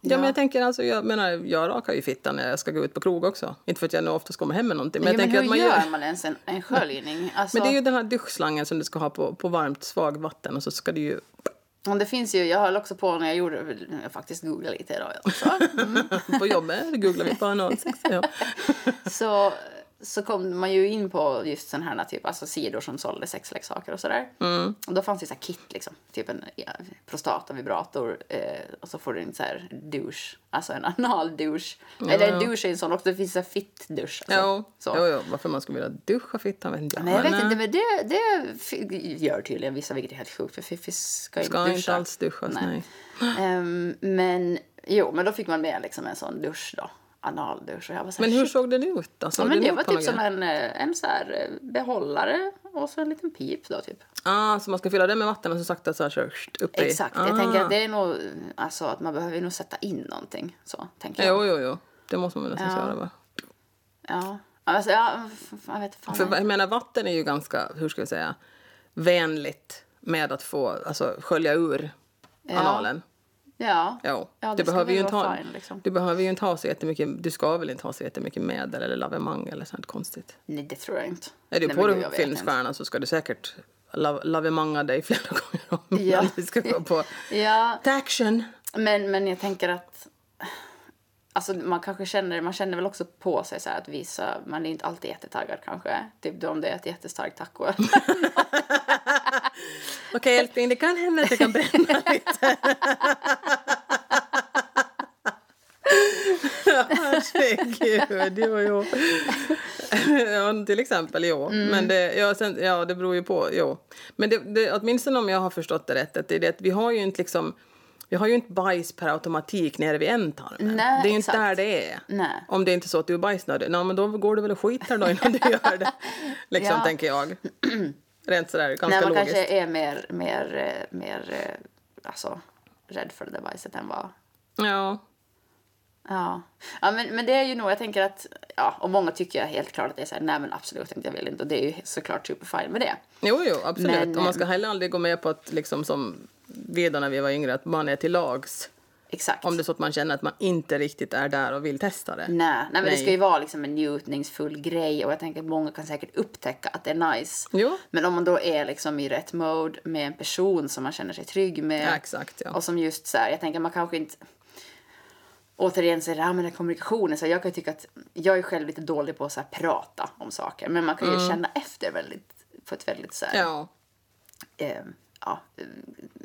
Speaker 1: Ja, men jag tänker alltså, jag menar, jag rakar ju fittan när jag ska gå ut på krog också. Inte för att jag nu oftast kommer hem med någonting, men
Speaker 2: Men,
Speaker 1: jag tänker
Speaker 2: hur
Speaker 1: att man
Speaker 2: gör
Speaker 1: gör...
Speaker 2: man ens en, en sköljning? Alltså,
Speaker 1: Men det är ju den här duschslangen som du ska ha på, på varmt svagvatten och så ska du ju...
Speaker 2: och det finns ju, jag höll också på när jag gjorde, jag faktiskt googlade lite idag också. Mm.
Speaker 1: På jobbet googlar vi på analsex. Ja.
Speaker 2: så, så kom man ju in på just sån här typ, alltså sidor som sålde sexleksaker och sådär.
Speaker 1: Mm.
Speaker 2: Och då fanns det så här kit liksom, typ en ja, prostatavibrator eh, och så får du en så här douche, alltså en anal-douche. Eller en douche är en sån också, det finns en fitt-douche. Alltså.
Speaker 1: Jo,
Speaker 2: Så.
Speaker 1: jo, jo, varför man skulle vilja duscha fittan vet inte jag.
Speaker 2: Men jag vet
Speaker 1: eh,
Speaker 2: inte, men det, det f- gör tydligen vissa, vilket är helt sjukt för fiffis ska ju
Speaker 1: Ska
Speaker 2: inte duscha.
Speaker 1: inte alls duschas, nej.
Speaker 2: Ehm, men jo, men då fick man med liksom en sån dusch då, analdusch. Och jag var så här,
Speaker 1: Men hur
Speaker 2: shit,
Speaker 1: såg den ut då? Såg
Speaker 2: Ja, men
Speaker 1: den
Speaker 2: det
Speaker 1: ut
Speaker 2: var
Speaker 1: på
Speaker 2: typ
Speaker 1: något
Speaker 2: som
Speaker 1: sätt?
Speaker 2: en, eh, en så här eh, behållare och så en liten pip då typ.
Speaker 1: Ah, så man ska fylla den med vatten och så sakta så här så, sht, upp i.
Speaker 2: Exakt,
Speaker 1: ah.
Speaker 2: jag tänker att det är nog, alltså att man behöver nog sätta in någonting så, tänker jag.
Speaker 1: Jo, jo, jo. Det måste man väl nästan
Speaker 2: Ja.
Speaker 1: göra va?
Speaker 2: Ja, alltså ja, f- jag vet fan.
Speaker 1: För jag menar, vatten är ju ganska, hur ska jag säga, vänligt med att få, alltså skölja ur
Speaker 2: Ja.
Speaker 1: analen.
Speaker 2: ja.
Speaker 1: Jo.
Speaker 2: Ja, det
Speaker 1: du,
Speaker 2: ska
Speaker 1: behöver
Speaker 2: väl
Speaker 1: ju inte
Speaker 2: vara
Speaker 1: ha,
Speaker 2: fine, liksom.
Speaker 1: du behöver ju inte ha så jättemycket, du ska väl inte ha så jättemycket medel eller lavemang eller sånt konstigt.
Speaker 2: Nej, det tror jag inte.
Speaker 1: Är du
Speaker 2: Nej,
Speaker 1: på
Speaker 2: men gud, jag
Speaker 1: du
Speaker 2: vet
Speaker 1: filmstjärna så ska du säkert la- lavemanga dig flera gånger om
Speaker 2: Ja.
Speaker 1: innan du ska gå på
Speaker 2: inte. Ja,
Speaker 1: action.
Speaker 2: Men, men jag tänker att... Alltså man kanske känner, man känner väl också på sig så här att visa, man är inte alltid jättetaggad kanske. Typ om det är ett jättestarkt taco.
Speaker 1: Okej älskling, det kan hända att jag kan bränna lite. Herregud, jo, jo. ja, till exempel, jo. Men det, ja, sen, ja, det beror ju på, jo. Men det, det, åtminstone om jag har förstått det rätt, att det är det att vi har ju inte liksom vi har ju inte bajs per automatik nere vid ändtarmen.
Speaker 2: Nej,
Speaker 1: det är ju
Speaker 2: exakt.
Speaker 1: inte där det är.
Speaker 2: Nej.
Speaker 1: Om det inte är så att du är bajsnödig. Nej, men då går du väl och skiter då innan du gör det. Liksom,
Speaker 2: Ja.
Speaker 1: tänker jag. Rent sådär, ganska
Speaker 2: När man
Speaker 1: logiskt.
Speaker 2: kanske är mer, mer, eh, mer eh, alltså, rädd för det där bajset än vad...
Speaker 1: Ja.
Speaker 2: Ja, ja men, men det är ju nog, jag tänker att, ja, och många tycker jag helt klart att det är så här, nej men absolut inte, jag vill inte. Och det är ju såklart superfine med det.
Speaker 1: Jo, jo, absolut.
Speaker 2: Men,
Speaker 1: och man ska heller aldrig gå med på att, liksom, som vi då när vi var yngre, att man är till lags.
Speaker 2: Exakt.
Speaker 1: Om det är så att man känner att man inte riktigt är där och vill testa det.
Speaker 2: Nej, nej men det
Speaker 1: Nej.
Speaker 2: ska ju vara liksom en njutningsfull grej och jag tänker att många kan säkert upptäcka att det är nice.
Speaker 1: Jo.
Speaker 2: Men om man då är liksom i rätt mode med en person som man känner sig trygg med.
Speaker 1: Ja, exakt, ja.
Speaker 2: Och som just så här, jag tänker man kanske inte... Återigen så är det här med den här kommunikationen, så jag kan ju tycka att jag är själv lite dålig på att så här prata om saker. Men man kan ju känna efter väldigt, på ett väldigt så här,
Speaker 1: Mm. Ja.
Speaker 2: eh, ja, eh,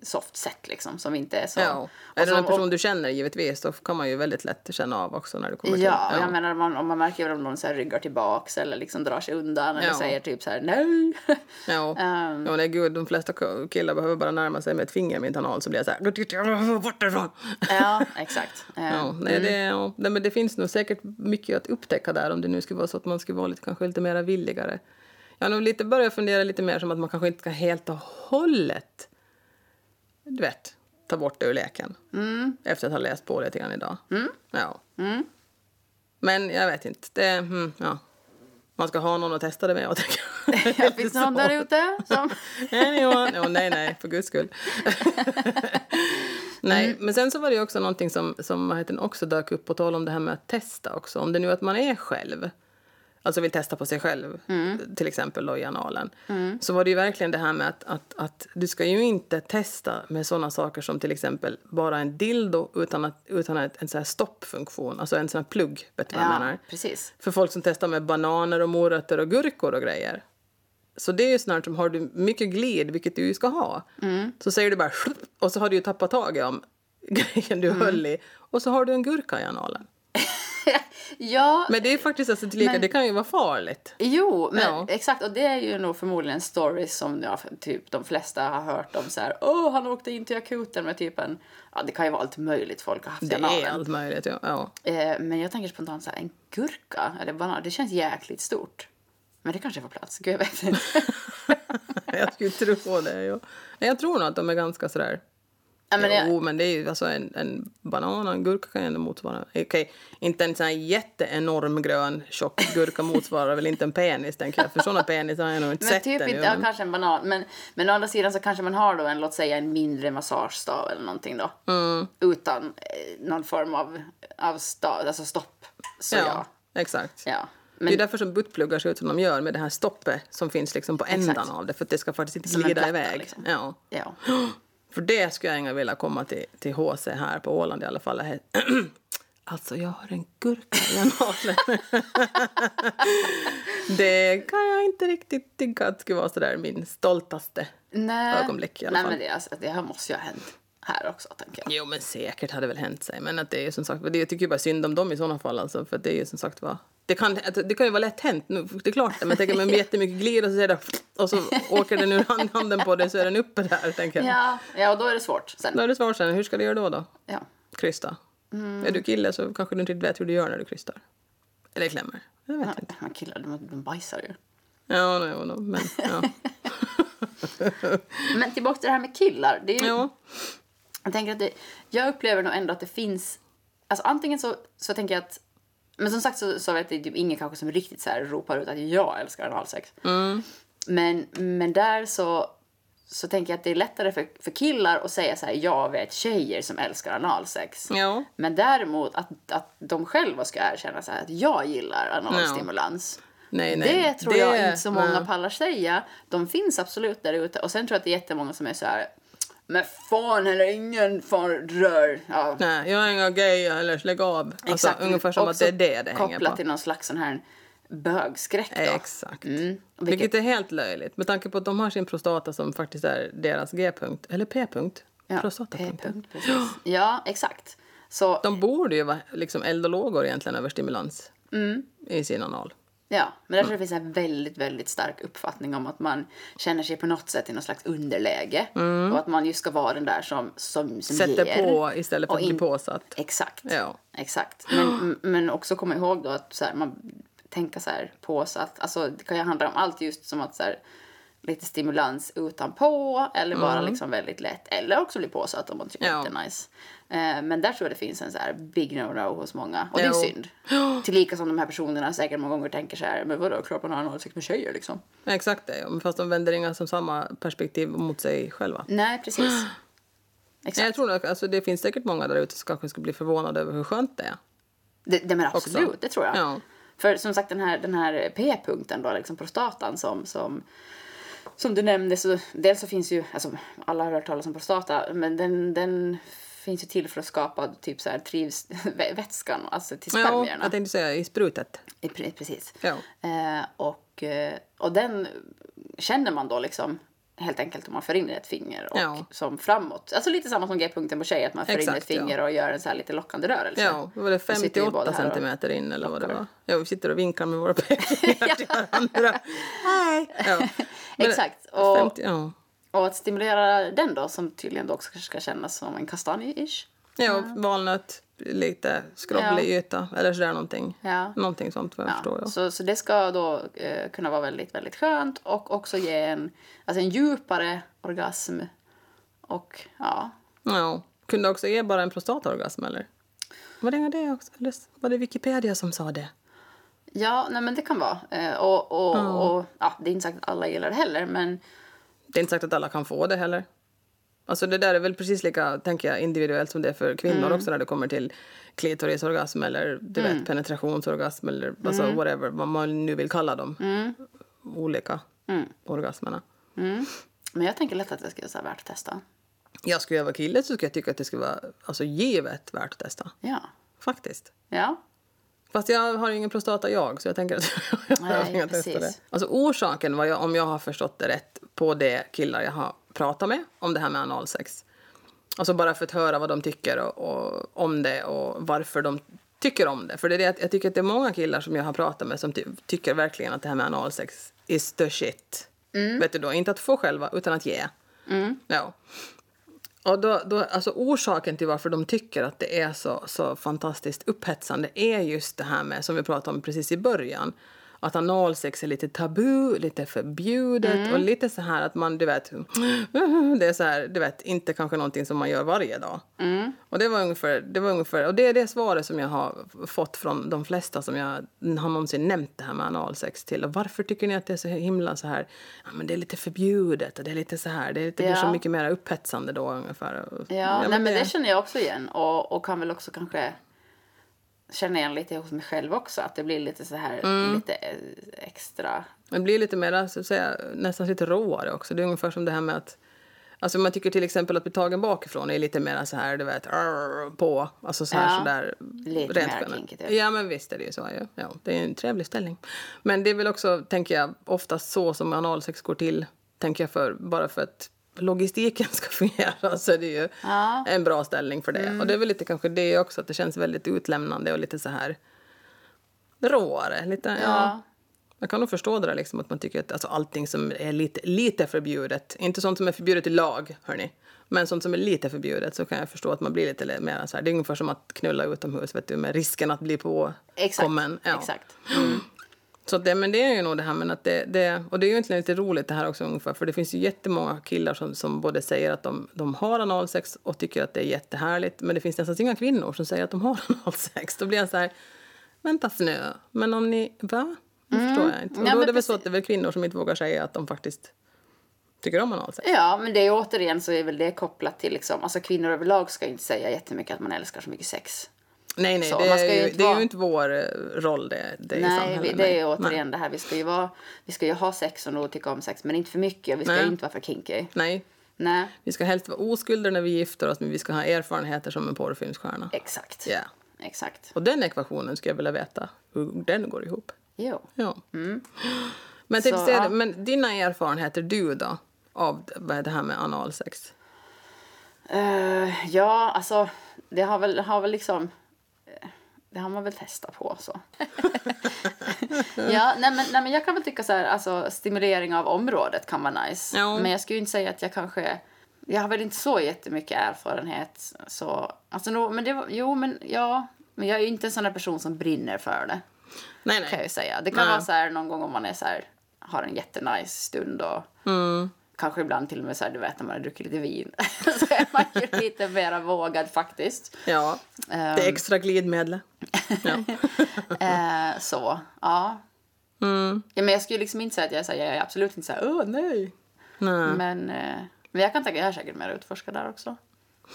Speaker 2: soft sätt liksom som inte är så...
Speaker 1: ja.
Speaker 2: och
Speaker 1: Är det
Speaker 2: som-
Speaker 1: någon person du känner givetvis, då kan man ju väldigt lätt känna av också när du kommer
Speaker 2: Ja,
Speaker 1: till.
Speaker 2: jag menar man, om man märker väl om någon så här ryggar tillbaks eller liksom drar sig undan eller
Speaker 1: Ja.
Speaker 2: säger typ så här nej.
Speaker 1: Ja.
Speaker 2: Ehm.
Speaker 1: ja, nej gud, de flesta k- killar behöver bara närma sig med ett finger med en anal så blir jag så här, bort därifrån!
Speaker 2: ja, exakt. Ehm,
Speaker 1: Ja, nej, det, ja. Nej, men det finns nog säkert mycket att upptäcka där om det nu skulle vara så att man skulle vara lite, kanske lite mer villigare. Jag har nog lite börjat fundera lite mer som att man kanske inte ska helt och hållet du vet, ta bort det ur leken.
Speaker 2: Mm.
Speaker 1: Efter att ha läst på lite grann idag. Ja. Men jag vet inte. Det, mm, ja. Man ska ha någon att testa det med. Jag tänker.
Speaker 2: Ja, Eh, Finns det någon där ute som...
Speaker 1: Anyone? Åh, nej, nej, för guds skull. nej, men sen så var det ju också någonting som, som vad heter den, också dök upp på tal om det här med att testa också. Om det nu är att man är själv, alltså vill testa på sig själv, till exempel då i analen, så var det ju verkligen det här med att, att, att du ska ju inte testa med sådana saker som till exempel bara en dildo utan, att, utan ett, en sån här stoppfunktion, alltså en sån här plugg, vet du vad jag menar?
Speaker 2: Ja, precis.
Speaker 1: för folk som testar med bananer och morötter och gurkor och grejer. Så det är ju snart som har du mycket glid, vilket du ju Mm. Mm. ska ha, så säger du bara "Shup", och så har du ju tappat taget om grejen du höll i Och så har du en gurka i analen.
Speaker 2: ja,
Speaker 1: Men det är faktiskt alltså lika,
Speaker 2: Men-
Speaker 1: det kan ju vara farligt.
Speaker 2: Jo, men
Speaker 1: Ja.
Speaker 2: exakt. Och det är ju nog förmodligen stories som ja, typ de flesta har hört om så här. Åh, han åkte in till akuten med typ en... Ja, det kan ju vara allt möjligt folk har haft i
Speaker 1: Det är
Speaker 2: analen.
Speaker 1: allt möjligt. Ja. Ja.
Speaker 2: Eh, men jag tänker spontant så här, en gurka eller banan, det känns jäkligt stort. Men det kanske får plats, gud jag vet inte.
Speaker 1: Jag skulle tro på det. Ja. Nej, jag tror nog att de är ganska sådär...
Speaker 2: ja, men
Speaker 1: jo,
Speaker 2: jag,
Speaker 1: men det är ju alltså en, en banan och en gurka kan ju ändå motsvara... Okej, inte en sån här jätteenorm grön tjock gurka motsvarar väl inte en penis, tänker jag. För såna penisar har jag nog inte
Speaker 2: men
Speaker 1: sett
Speaker 2: typ
Speaker 1: ännu,
Speaker 2: inte, ja,
Speaker 1: men-
Speaker 2: kanske en banan. Men, men å andra sidan så kanske man har då en, låt säga en mindre massagestav eller någonting då.
Speaker 1: Mm.
Speaker 2: Utan eh, någon form av, av stav, alltså stopp. Så ja.
Speaker 1: exakt.
Speaker 2: ja.
Speaker 1: Det är
Speaker 2: Men
Speaker 1: därför som buttpluggar ser ut som de gör med det här stoppet som finns liksom på ändan av det. För att det ska faktiskt inte
Speaker 2: Som en
Speaker 1: glida
Speaker 2: platta,
Speaker 1: iväg.
Speaker 2: liksom.
Speaker 1: Ja.
Speaker 2: ja.
Speaker 1: För det skulle jag gärna vilja komma till, till HC här på Åland i alla fall. Här- Alltså, jag har en gurka i analen. det kan jag inte riktigt tycka att skulle vara sådär min stoltaste.
Speaker 2: Nej.
Speaker 1: ögonblick i alla
Speaker 2: Nej,
Speaker 1: fall.
Speaker 2: men det, är alltså, det här måste ju ha hänt här också, tänker jag.
Speaker 1: Jo, men säkert hade väl hänt sig. Men att det är ju som sagt, det jag tycker ju bara synd om dem i sådana fall. Alltså, för att det är ju som sagt va, det kan, att det kan ju vara lätt hänt, nu, det är klart. Men jag tänker man med jättemycket glid och så, är det, och så åker den ur hand- handen på dig så är den uppe där. Tänker jag.
Speaker 2: Ja, ja och då är det svårt sen.
Speaker 1: Då är det svårt sen, hur ska du göra då? då?
Speaker 2: Ja.
Speaker 1: Krysta.
Speaker 2: Mm.
Speaker 1: Är du kille så kanske du inte riktigt vet hur du gör när du krystar. Eller klämmer. Jag vet inte.
Speaker 2: Men killar, de, de bajsar ju.
Speaker 1: Ja, no, no, men ja.
Speaker 2: Men tillbaka till det här med killar. Det är ju,
Speaker 1: ja.
Speaker 2: jag, tänker att det, jag upplever nog ändå att det finns... Alltså antingen så, så tänker jag att... Men som sagt så, så vet jag typ ingen kanske som riktigt så här ropar ut att jag älskar analsex. Men, men där så, så tänker jag att det är lättare för, för killar att säga så här jag vet tjejer som älskar analsex.
Speaker 1: Ja.
Speaker 2: Men däremot att, att de själva ska erkänna så här att jag gillar analstimulans.
Speaker 1: Nej, nej.
Speaker 2: Det tror
Speaker 1: Eh, Det-
Speaker 2: jag inte så många
Speaker 1: nej.
Speaker 2: pallar säga. De finns absolut där ute. Och sen tror jag att det är jättemånga som är så här. Men fan eller ingen fan rör. Ja,
Speaker 1: Nej, jag är inga gay eller lägg av. Alltså, Ungefär som att
Speaker 2: Också
Speaker 1: det är det det hänger
Speaker 2: kopplat
Speaker 1: på.
Speaker 2: till någon slags sån här bögskräck då. Mm,
Speaker 1: Exakt.
Speaker 2: Vilket-
Speaker 1: Vilket är helt löjligt med tanke på att de har sin prostata som faktiskt är deras G-punkt, eller P-punkt.
Speaker 2: Ja,
Speaker 1: Prostatapunkt.
Speaker 2: P-punkt, precis. Ja, exakt. Så
Speaker 1: De borde ju vara liksom eld och lågor egentligen över stimulans
Speaker 2: Mm.
Speaker 1: i sin anal.
Speaker 2: ja, men där tror jag det finns en väldigt, väldigt stark uppfattning om att man känner sig på något sätt i något slags underläge. Och att man ju ska vara den där som, som, som
Speaker 1: Mm. Sätter
Speaker 2: ger.
Speaker 1: på istället för
Speaker 2: Och
Speaker 1: att bli
Speaker 2: in-
Speaker 1: påsatt.
Speaker 2: Exakt.
Speaker 1: Ja.
Speaker 2: Exakt. Men, men också komma ihåg då att så här, man tänka så här på så att, alltså det kan ju handla om allt just som att så här, lite stimulans utanpå eller bara liksom väldigt lätt eller också bli påsatt om man tycker
Speaker 1: Mm. Ja.
Speaker 2: att det är nice. Eh, men där tror jag det finns en så här big no-no hos många och det är
Speaker 1: Jo.
Speaker 2: synd. Tillika som de här personerna säkert många gånger tänker så här, men vadå, klart man har analsex med tjejer liksom.
Speaker 1: Exakt det, ja. Men fast de vänder inga som samma perspektiv mot sig själva.
Speaker 2: Nej, precis.
Speaker 1: Nej,
Speaker 2: Exakt.
Speaker 1: Jag tror nog, alltså, det finns säkert många där ute som kanske skulle bli förvånade över hur skönt det är.
Speaker 2: Det, det men absolut,
Speaker 1: också.
Speaker 2: det tror jag.
Speaker 1: Ja.
Speaker 2: För som sagt den här, den här p-punkten då, liksom prostatan som, som, som du nämnde så dels så finns ju, alltså alla har hört talas om prostata, men den, den finns ju till för att skapa typ så här trivs, vä- vätskan, alltså till
Speaker 1: Ja,
Speaker 2: spermierna.
Speaker 1: jag tänkte säga i sprutet.
Speaker 2: I pre- Precis.
Speaker 1: Ja.
Speaker 2: Eh, och, eh, och den känner man då liksom helt enkelt om man för in ett finger och
Speaker 1: Ja.
Speaker 2: som framåt. Alltså lite samma som g-punkten på tjej, att man för in
Speaker 1: Exakt,
Speaker 2: ett finger och gör en så här lite lockande rörelse.
Speaker 1: Ja, vad var det
Speaker 2: Vi sitter ju båda
Speaker 1: 58
Speaker 2: här och-
Speaker 1: centimeter in eller vad det var? Ja, vi sitter och vinkar med våra pekfingrar till varandra. Hej! Ja. Men-
Speaker 2: Exakt. Och,
Speaker 1: 50, ja.
Speaker 2: och att stimulera den då, som tydligen då också kanske ska kännas som en kastanj-ish.
Speaker 1: ja, valnöt, lite skrovlig yta eller sådär någonting.
Speaker 2: Ja.
Speaker 1: Någonting sånt vad jag förstår. Ja.
Speaker 2: Så, så det ska då eh, kunna vara väldigt, väldigt skönt och också ge en, alltså en djupare orgasm. Och ja,
Speaker 1: Ja. Kunde också ge bara en prostataorgasm eller? Var det det också? Eller var det Wikipedia som sa det?
Speaker 2: ja nej men det kan vara. Eh, och och, och ja, det är inte sagt att alla gillar det heller, men
Speaker 1: Det är inte sagt att alla kan få det heller. Alltså det där är väl precis lika tänker jag, individuellt som det är för kvinnor också när det kommer till klitorisorgasm eller du vet, penetrationsorgasm eller alltså, whatever, vad man nu vill kalla dem. Olika orgasmerna.
Speaker 2: men jag tänker lätt att det skulle vara värt att testa.
Speaker 1: Jag skulle jag vara kille så skulle jag tycka att det skulle vara alltså, givet värt att testa.
Speaker 2: Ja.
Speaker 1: Faktiskt.
Speaker 2: Ja.
Speaker 1: Fast jag har ju ingen prostata jag, så jag tänker att jag
Speaker 2: Nej,
Speaker 1: behöver inte
Speaker 2: precis.
Speaker 1: testa det. Alltså orsaken, var jag, om jag har förstått det rätt, på det killar jag har pratat med om det här med analsex Alltså bara för att höra vad de tycker och, och, om det och varför de tycker om det. För det är det, att jag tycker att det är många killar som jag har pratat med som ty tycker verkligen att det här med analsex is the shit.
Speaker 2: Mm.
Speaker 1: Vet du då, inte att få själva utan att ge. Ja. Och då, då, alltså orsaken till varför de tycker att det är så, så fantastiskt upphetsande är just det här med, som vi pratade om precis i början, att analsex är lite tabu, lite förbjudet och lite så här att man, du vet, det är så här, du vet, inte kanske någonting som man gör varje dag. Och det var ungefär, det var ungefär, och det är det svaret som jag har fått från de flesta som jag har någonsin nämnt det här med analsex till. Och varför tycker ni att det är så himla så här, ja men det är lite förbjudet och det är lite så här, det, är lite, det blir så
Speaker 2: Ja.
Speaker 1: mycket mer upphetsande då ungefär. Ja,
Speaker 2: Ja, nej, men det känner jag också igen och, och kan väl också kanske känna igen lite hos mig själv också. Att det blir lite så här lite eh, extra.
Speaker 1: Det blir lite mer, alltså, så att säga, nästan lite råare också. Det är ungefär som det här med att Alltså man tycker till exempel att bli tagen bakifrån är lite mer så här, du vet, "Arr", på. Alltså så här
Speaker 2: Ja.
Speaker 1: sådär.
Speaker 2: Lite mer
Speaker 1: generellt.
Speaker 2: kinky, typ.
Speaker 1: Ja men visst är det ju så. Ja. Ja, det är en trevlig ställning. Men det är väl också, tänker jag, oftast så som analsex går till. Tänker jag för, bara för att logistiken ska fungera så är det ju
Speaker 2: Ja. Mm.
Speaker 1: en bra ställning för det. Och det är väl lite kanske det också, att det känns väldigt utlämnande och lite så här råare. Lite, ja.
Speaker 2: Ja.
Speaker 1: Jag kan nog förstå det där liksom, att man tycker att alltså, allting som är lite, lite förbjudet, inte sånt som är förbjudet i lag, hörni, men sånt som är lite förbjudet så kan jag förstå att man blir lite mer så här. Det är ungefär som att knulla utomhus, vet du, med risken att bli på
Speaker 2: Exakt.
Speaker 1: kommen. Ja.
Speaker 2: Exakt.
Speaker 1: Så att det, men det är ju nog det här, men att det, det, och det är ju egentligen lite roligt det här också ungefär, för det finns ju jättemånga killar som, som både säger att de, de har analsex och tycker att det är jättehärligt, men det finns nästan inga kvinnor som säger att de har analsex. Då blir jag så här, vänta nu, men om ni, va? Det förstår jag inte. Och
Speaker 2: Ja,
Speaker 1: då är
Speaker 2: Mm. men
Speaker 1: det väl så
Speaker 2: precis.
Speaker 1: att det är väl kvinnor som inte vågar säga att de faktiskt tycker om analsex.
Speaker 2: Ja, men det är återigen så är väl det kopplat till liksom, alltså kvinnor överlag ska ju inte säga jättemycket att man älskar så mycket sex.
Speaker 1: Nej, nej,
Speaker 2: Så,
Speaker 1: det,
Speaker 2: man ska
Speaker 1: är
Speaker 2: ju
Speaker 1: ju,
Speaker 2: inte
Speaker 1: det är ju
Speaker 2: vara-
Speaker 1: inte vår eh, roll det, det i
Speaker 2: Nej, vi,
Speaker 1: samhället.
Speaker 2: det är
Speaker 1: nej.
Speaker 2: återigen det här, vi ska ju vara, vi ska ju ha sex och nog tycka om sex, men inte för mycket och vi ska
Speaker 1: Nej.
Speaker 2: ju inte vara för kinky.
Speaker 1: nej,
Speaker 2: Nej,
Speaker 1: vi ska helst vara oskulder när vi gifter oss, men vi ska ha erfarenheter som en porrfilmsstjärna.
Speaker 2: exakt.
Speaker 1: Ja.
Speaker 2: Exakt.
Speaker 1: Och den ekvationen skulle jag vilja veta hur den går ihop.
Speaker 2: Jo.
Speaker 1: Ja. Men, typ,
Speaker 2: Mm. Så,
Speaker 1: ser-
Speaker 2: ja.
Speaker 1: men dina erfarenheter, du då, av d- det här med analsex?
Speaker 2: Eh, ja, alltså det har väl, har väl liksom... eh, Det har man väl testat på så. ja, nej men, nej men jag kan väl tycka så här, alltså stimulering av området kan vara nice.
Speaker 1: Ja.
Speaker 2: Men jag skulle ju inte säga att jag kanske... Jag har väl inte så jättemycket erfarenhet så... Alltså no, men det var, jo men ja. Men jag är ju inte en sån där person som brinner för det.
Speaker 1: Nej,
Speaker 2: Kan jag
Speaker 1: nej.
Speaker 2: ju säga. Det kan
Speaker 1: Nej.
Speaker 2: vara så här någon gång om man är så här, har en jättenice stund och
Speaker 1: Mm.
Speaker 2: kanske ibland till och med så här, du vet när man har druckit lite vin. så är man ju lite mer vågad faktiskt.
Speaker 1: Ja, det
Speaker 2: Um.
Speaker 1: är extra glidmedel. Ja.
Speaker 2: Eh, så, ja.
Speaker 1: Mm.
Speaker 2: ja. Men jag skulle liksom inte säga att jag är, så här, jag är absolut inte så här, åh nej.
Speaker 1: Nej.
Speaker 2: Men, eh, men jag kan tänka, jag är säkert mer utforskad där också.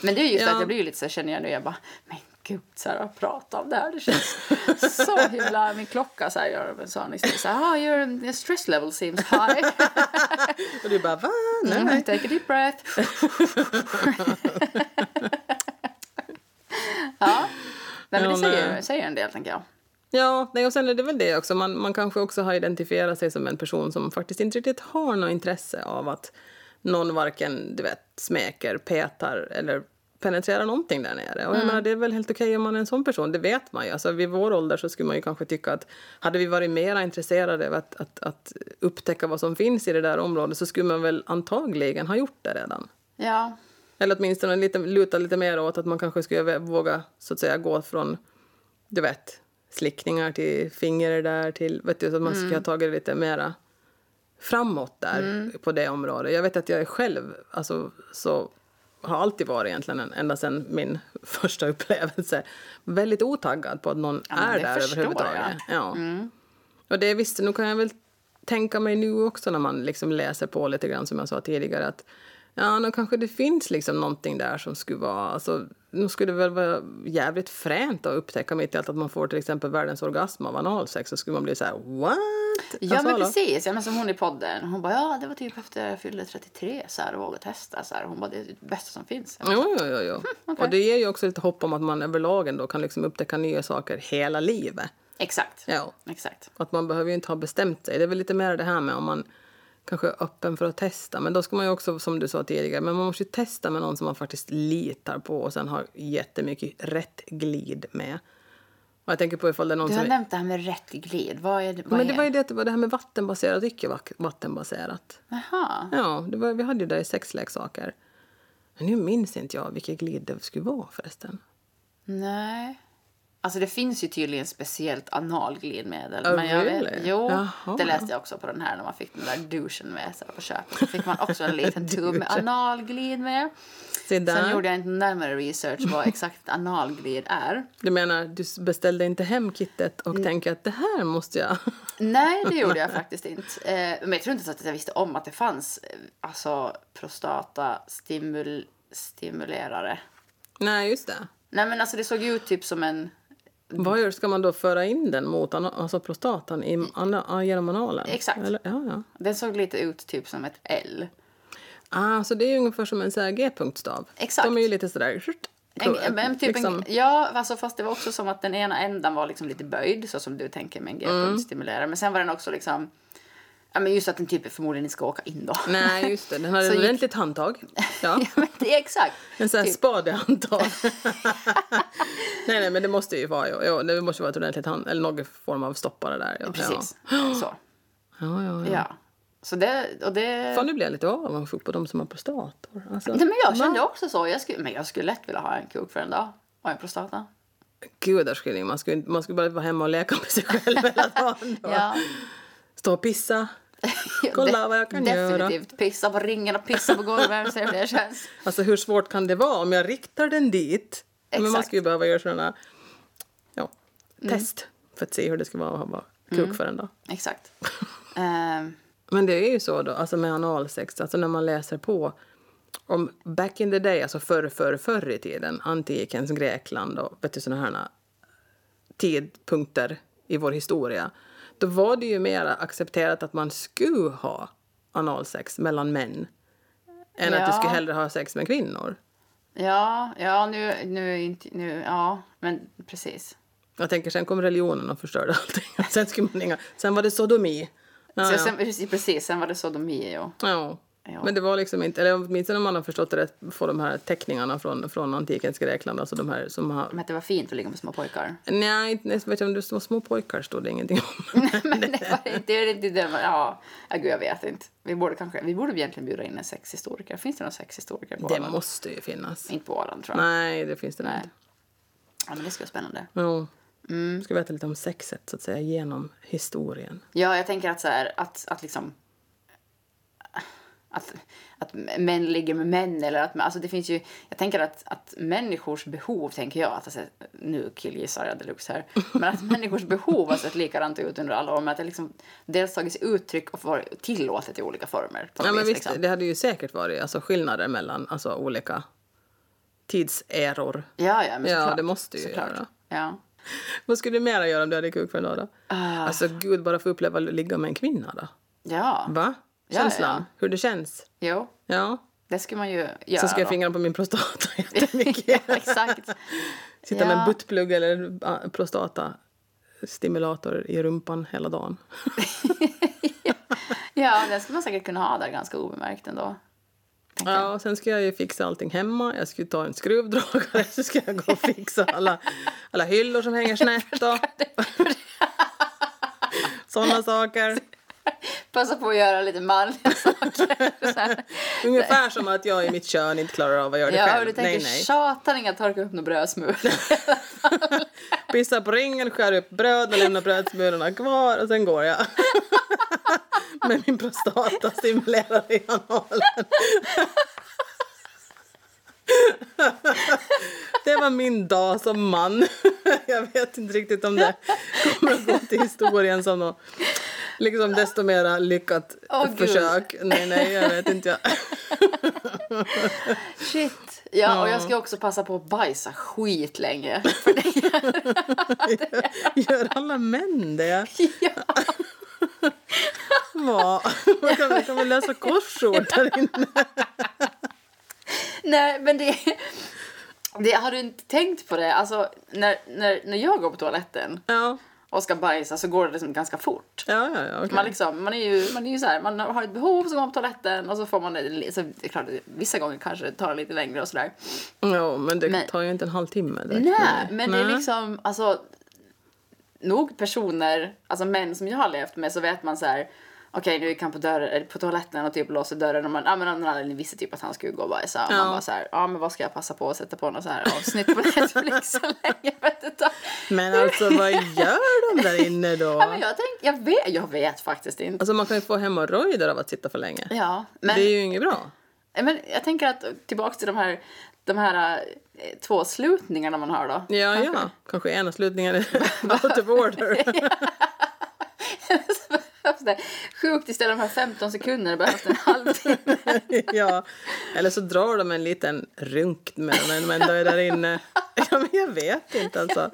Speaker 2: Men det är just
Speaker 1: Ja.
Speaker 2: det att jag blir ju lite så här, känner jag nu, jag bara, men gud, så här, att prata om det här, det känns så himla, min klocka så här gör en sån, liksom, så här, ah, your your stress level seems high.
Speaker 1: Och du bara, va? Nej,
Speaker 2: Mm,
Speaker 1: nej.
Speaker 2: take a deep breath. ja, Nej, men
Speaker 1: Ja,
Speaker 2: det
Speaker 1: nej.
Speaker 2: säger, säger en del, tänker jag.
Speaker 1: Ja, nej, och sen är det väl det också. Man, man kanske också har identifierat sig som en person som faktiskt inte riktigt har något intresse av att någon varken, du vet, smeker, petar eller penetrerar någonting där nere. Och jag menar, det är väl helt okej om man är en sån person, det vet man ju. Alltså, vid vår ålder så skulle man ju kanske tycka att hade vi varit mer intresserade av att, att, att upptäcka vad som finns i det där området så skulle man väl antagligen ha gjort det redan.
Speaker 2: Ja,
Speaker 1: Eller åtminstone lite, luta lite mer åt att man kanske skulle våga så att säga gå från, du vet, slickningar till fingrar där till, vet du, så att man
Speaker 2: Mm.
Speaker 1: skulle ha tagit det lite mera framåt där på det området. Jag vet att jag är själv, alltså så har alltid varit egentligen, en- ända sedan min första upplevelse, väldigt otaggad på att någon
Speaker 2: Ja, men
Speaker 1: är
Speaker 2: det
Speaker 1: där
Speaker 2: förstår Mm.
Speaker 1: överhuvudtaget. Ja. Och det visst, nu kan jag väl tänka mig nu också när man liksom läser på lite grann som jag sa tidigare att ja, nu kanske det finns liksom någonting där som skulle vara, alltså nu skulle det väl vara jävligt fränt att upptäcka mitt i allt att man får till exempel världens orgasm av analsex så skulle man bli så här what?
Speaker 2: ja
Speaker 1: Alltså,
Speaker 2: men
Speaker 1: hallå?
Speaker 2: precis. Ja, men som hon i podden. Hon bara, ja det var typ efter jag fyllde 33 så här och vågade testa så här. Hon bara, det är det bästa som finns.
Speaker 1: Jo, jo, jo.
Speaker 2: Hm,
Speaker 1: jo. Och det ger ju också lite hopp om att man överlag ändå kan liksom upptäcka nya saker hela livet.
Speaker 2: Exakt.
Speaker 1: Ja.
Speaker 2: Exakt.
Speaker 1: Att man behöver ju inte ha bestämt sig. Det är väl lite mer det här med om man kanske öppen för att testa. Men då ska man ju också, som du sa tidigare, men man måste ju testa med någon som man faktiskt litar på och sen har jättemycket rätt glid med. Och jag tänker på ifall det är någon
Speaker 2: Du har
Speaker 1: som...
Speaker 2: nämnt det här med rätt glid. Vad är det? Vad
Speaker 1: men det
Speaker 2: är
Speaker 1: var ju det, att det var det här med vattenbaserat och icke vak- vattenbaserat.
Speaker 2: Jaha.
Speaker 1: Ja, det var, vi hade ju det i sexleksaker. Men nu minns inte jag vilket glid det skulle vara förresten.
Speaker 2: Nej. Alltså det finns ju tydligen speciellt analglidmedel.
Speaker 1: Oh,
Speaker 2: men jag vet,
Speaker 1: really?
Speaker 2: jo,
Speaker 1: Jaha.
Speaker 2: det läste jag också på den här när man fick den där duschen med sig på köpet. Då fick man också en liten tub med analglid med.
Speaker 1: Se där.
Speaker 2: Sen gjorde jag inte närmare research vad exakt analglid är.
Speaker 1: Du menar, du s- beställde inte hem kittet och
Speaker 2: Mm.
Speaker 1: tänker att det här måste jag...
Speaker 2: Nej, det gjorde jag faktiskt inte. Eh, men jag tror inte så att jag visste om att det fanns eh, alltså prostatastimul- stimulerare.
Speaker 1: Nej, just det.
Speaker 2: Nej men alltså det såg ju ut typ som en
Speaker 1: Vad gör, ska man då föra in den mot ana, alltså prostatan i, ana, ja, genom analen?
Speaker 2: Exakt.
Speaker 1: Eller, ja, ja.
Speaker 2: Den såg lite ut typ som ett L.
Speaker 1: Ah, så det är ju ungefär som en så här G-punktstav.
Speaker 2: Exakt.
Speaker 1: De är ju lite sådär... skjut, Liksom-
Speaker 2: En,
Speaker 1: kurv,
Speaker 2: men typ en, ja, alltså fast det var också som att den ena ändan var liksom lite böjd, så som du tänker med en
Speaker 1: Mm.
Speaker 2: g-punktstimulerare. Men sen var den också liksom... Ja, men just att den typ förmodligen inte ska åka in då.
Speaker 1: Nej, just det. Den har ett
Speaker 2: gick-
Speaker 1: ordentligt handtag. Ja.
Speaker 2: ja, men det är exakt.
Speaker 1: En sån här
Speaker 2: Typ.
Speaker 1: spadehandtag. nej, nej, men det måste ju vara... Jo, jo, det måste ju vara ett ordentligt hand... Eller någon form av stoppare där. Ja.
Speaker 2: Precis. Så.
Speaker 1: Ja, ja, ja.
Speaker 2: Ja. Så det... Och det...
Speaker 1: Fan, nu blir jag lite avundsjuk på de som har prostator. Alltså,
Speaker 2: Nej, men jag kände också så. Jag skulle, men jag skulle lätt vilja ha en kuk för en dag. Och en prostata.
Speaker 1: Gudars skilling, man skulle, inte- man skulle bara vara hemma och leka med sig själv hela dagen. då.
Speaker 2: Ja.
Speaker 1: Stå och pissa. Kolla vad jag kan
Speaker 2: Definitivt.
Speaker 1: göra.
Speaker 2: Definitivt. Pissa på ringen och pissa på golvet. Se hur det känns.
Speaker 1: Alltså hur svårt kan det vara om jag riktar den dit? Men man
Speaker 2: Exakt.
Speaker 1: skulle ju behöva göra sådana ja, test för att se hur det skulle vara att vara kuk för en dag.
Speaker 2: Exakt. Ehm,
Speaker 1: Men det är ju så då, alltså med analsex, alltså när man läser på om back in the day, alltså förr, förr, förr i tiden, antikens Grekland och vet du, sådana här eh, tidpunkter i vår historia, då var det ju mer accepterat att man skulle ha analsex mellan män än att
Speaker 2: Ja.
Speaker 1: du skulle hellre ha sex med kvinnor.
Speaker 2: Ja, ja nu, nu, är inte, nu, ja, men precis.
Speaker 1: Jag tänker, sen kom religionen och förstörde allting. Sen, skulle man inga, sen var det sodomi. Ja,
Speaker 2: så
Speaker 1: ja.
Speaker 2: sen, precis, precis, sen var det sodomi ja.
Speaker 1: Ja.
Speaker 2: Ja.
Speaker 1: Men det var liksom inte, eller åtminstone om man har förstått det rätt, får de här teckningarna från, från antikens Grekland, alltså de här som har...
Speaker 2: Men att det var fint att ligga med små pojkar.
Speaker 1: Nej, inte- jag vet inte om det var små pojkar stod det ingenting om.
Speaker 2: men det var inte, det är inte det, men, ja, ja, gud jag vet inte. Vi borde kanske, vi borde egentligen bjuda in en sexhistoriker. Finns det någon sexhistoriker på
Speaker 1: Det
Speaker 2: Åland?
Speaker 1: måste ju finnas.
Speaker 2: Inte på Åland tror jag.
Speaker 1: Nej, det finns det nog inte.
Speaker 2: Ja, men det skulle vara spännande.
Speaker 1: Jo.
Speaker 2: Mm.
Speaker 1: Ska vi veta lite om sexet, så att säga, genom historien.
Speaker 2: Ja, jag tänker att så här, att, att liksom... Att, att män ligger med män eller att alltså det finns ju, jag tänker att, att människors behov, tänker jag, att alltså, nu killgissar jag deluxe här, men att människors behov har sett likadant ut under alla år, men att det liksom dels tagits uttryck och varit tillåtet i olika former. På något
Speaker 1: Ja, men
Speaker 2: vis,
Speaker 1: visst,
Speaker 2: liksom.
Speaker 1: det hade ju säkert varit alltså, skillnader mellan alltså, olika tidseror.
Speaker 2: Ja, ja, men
Speaker 1: Ja,
Speaker 2: såklart,
Speaker 1: det måste ju
Speaker 2: såklart.
Speaker 1: göra.
Speaker 2: Ja. Ah,
Speaker 1: Vad skulle du mera göra om du hade kuk för en dag då? Alltså gud, bara få uppleva att ligga med en kvinna då?
Speaker 2: ja,
Speaker 1: Va?
Speaker 2: Ja,
Speaker 1: Känslan?
Speaker 2: ja, ja.
Speaker 1: Hur det känns?
Speaker 2: jo,
Speaker 1: Ja.
Speaker 2: det skulle man ju göra.
Speaker 1: Så ska jag
Speaker 2: då.
Speaker 1: fingrarna på min prostata jättemycket.
Speaker 2: ja, exakt.
Speaker 1: Sitta med en
Speaker 2: Ja.
Speaker 1: buttplugg eller ah, prostatastimulator i rumpan hela dagen.
Speaker 2: Ja, den skulle man säkert kunna ha där ganska obemärkt ändå.
Speaker 1: Ja, och sen ska jag ju fixa allting hemma. Jag ska ju ta en skruvdragare, så ska jag gå och fixa alla, alla hyllor som hänger snett och sådana saker.
Speaker 2: Passa på att göra lite manliga saker. Så här.
Speaker 1: Ungefär som att jag i mitt kön inte klarar av att göra det
Speaker 2: Ja, och
Speaker 1: själv.
Speaker 2: du tänker tjatar inga torka upp några brödsmulor.
Speaker 1: Pissa på ringen, skär upp bröd och lämnar brödsmulorna kvar och sen går jag. Med min prostata stimulerad i analen. Det var min dag som man. Jag vet inte riktigt om det kommer att gå till historien som något liksom desto mera lyckat
Speaker 2: Åh, gud.
Speaker 1: försök. Nej, nej, jag vet inte. Jag.
Speaker 2: Shit. Ja, och jag ska också passa på att bajsa skit länge. För det,
Speaker 1: Gör alla män det?
Speaker 2: ja.
Speaker 1: Va? Man kan, man kan väl läsa korsord där inne?
Speaker 2: Nej, men det... det... Har du inte tänkt på det? Alltså, när, när, när jag går på toaletten
Speaker 1: Ja.
Speaker 2: och ska bajsa så går det liksom ganska fort.
Speaker 1: Ja, ja, ja. okej.
Speaker 2: Man, liksom, man är ju, man är ju så här, man har ett behov så går man på toaletten och så får man det, så det är klart, vissa gånger kanske det tar lite längre och sådär.
Speaker 1: Ja, men det
Speaker 2: Men-
Speaker 1: tar ju inte en halvtimme direkt.
Speaker 2: Nej, men det är
Speaker 1: Nej.
Speaker 2: liksom, alltså nog personer, alltså män som jag har levt med så vet man så här okej nu gick han på, dörren, eller på toaletten och typ låser dörren och man, ja men av någon anledning visste typ att han skulle gå och bajsa och
Speaker 1: Ja.
Speaker 2: man bara så här, ja men vad ska jag passa på att sätta på något så här avsnitt på Netflix så länge vet du ta.
Speaker 1: Men alltså vad gör de där inne då?
Speaker 2: Ja men jag tänkte, jag vet, jag vet faktiskt inte.
Speaker 1: Alltså man kan ju få hemorrojder av att sitta för länge.
Speaker 2: Ja, men,
Speaker 1: Det är ju inget bra.
Speaker 2: Eh, men jag tänker att tillbaka till de här, de här eh, två slutningarna man har då.
Speaker 1: Ja, ja. Kanske enavslutningar är out of order.
Speaker 2: Så behövs det. Sjukt istället för de här 15 sekunderna behövs det en halvtimme.
Speaker 1: ja. Eller så drar de en liten runk med den men ändå är där inne. Ja, men jag vet inte alltså.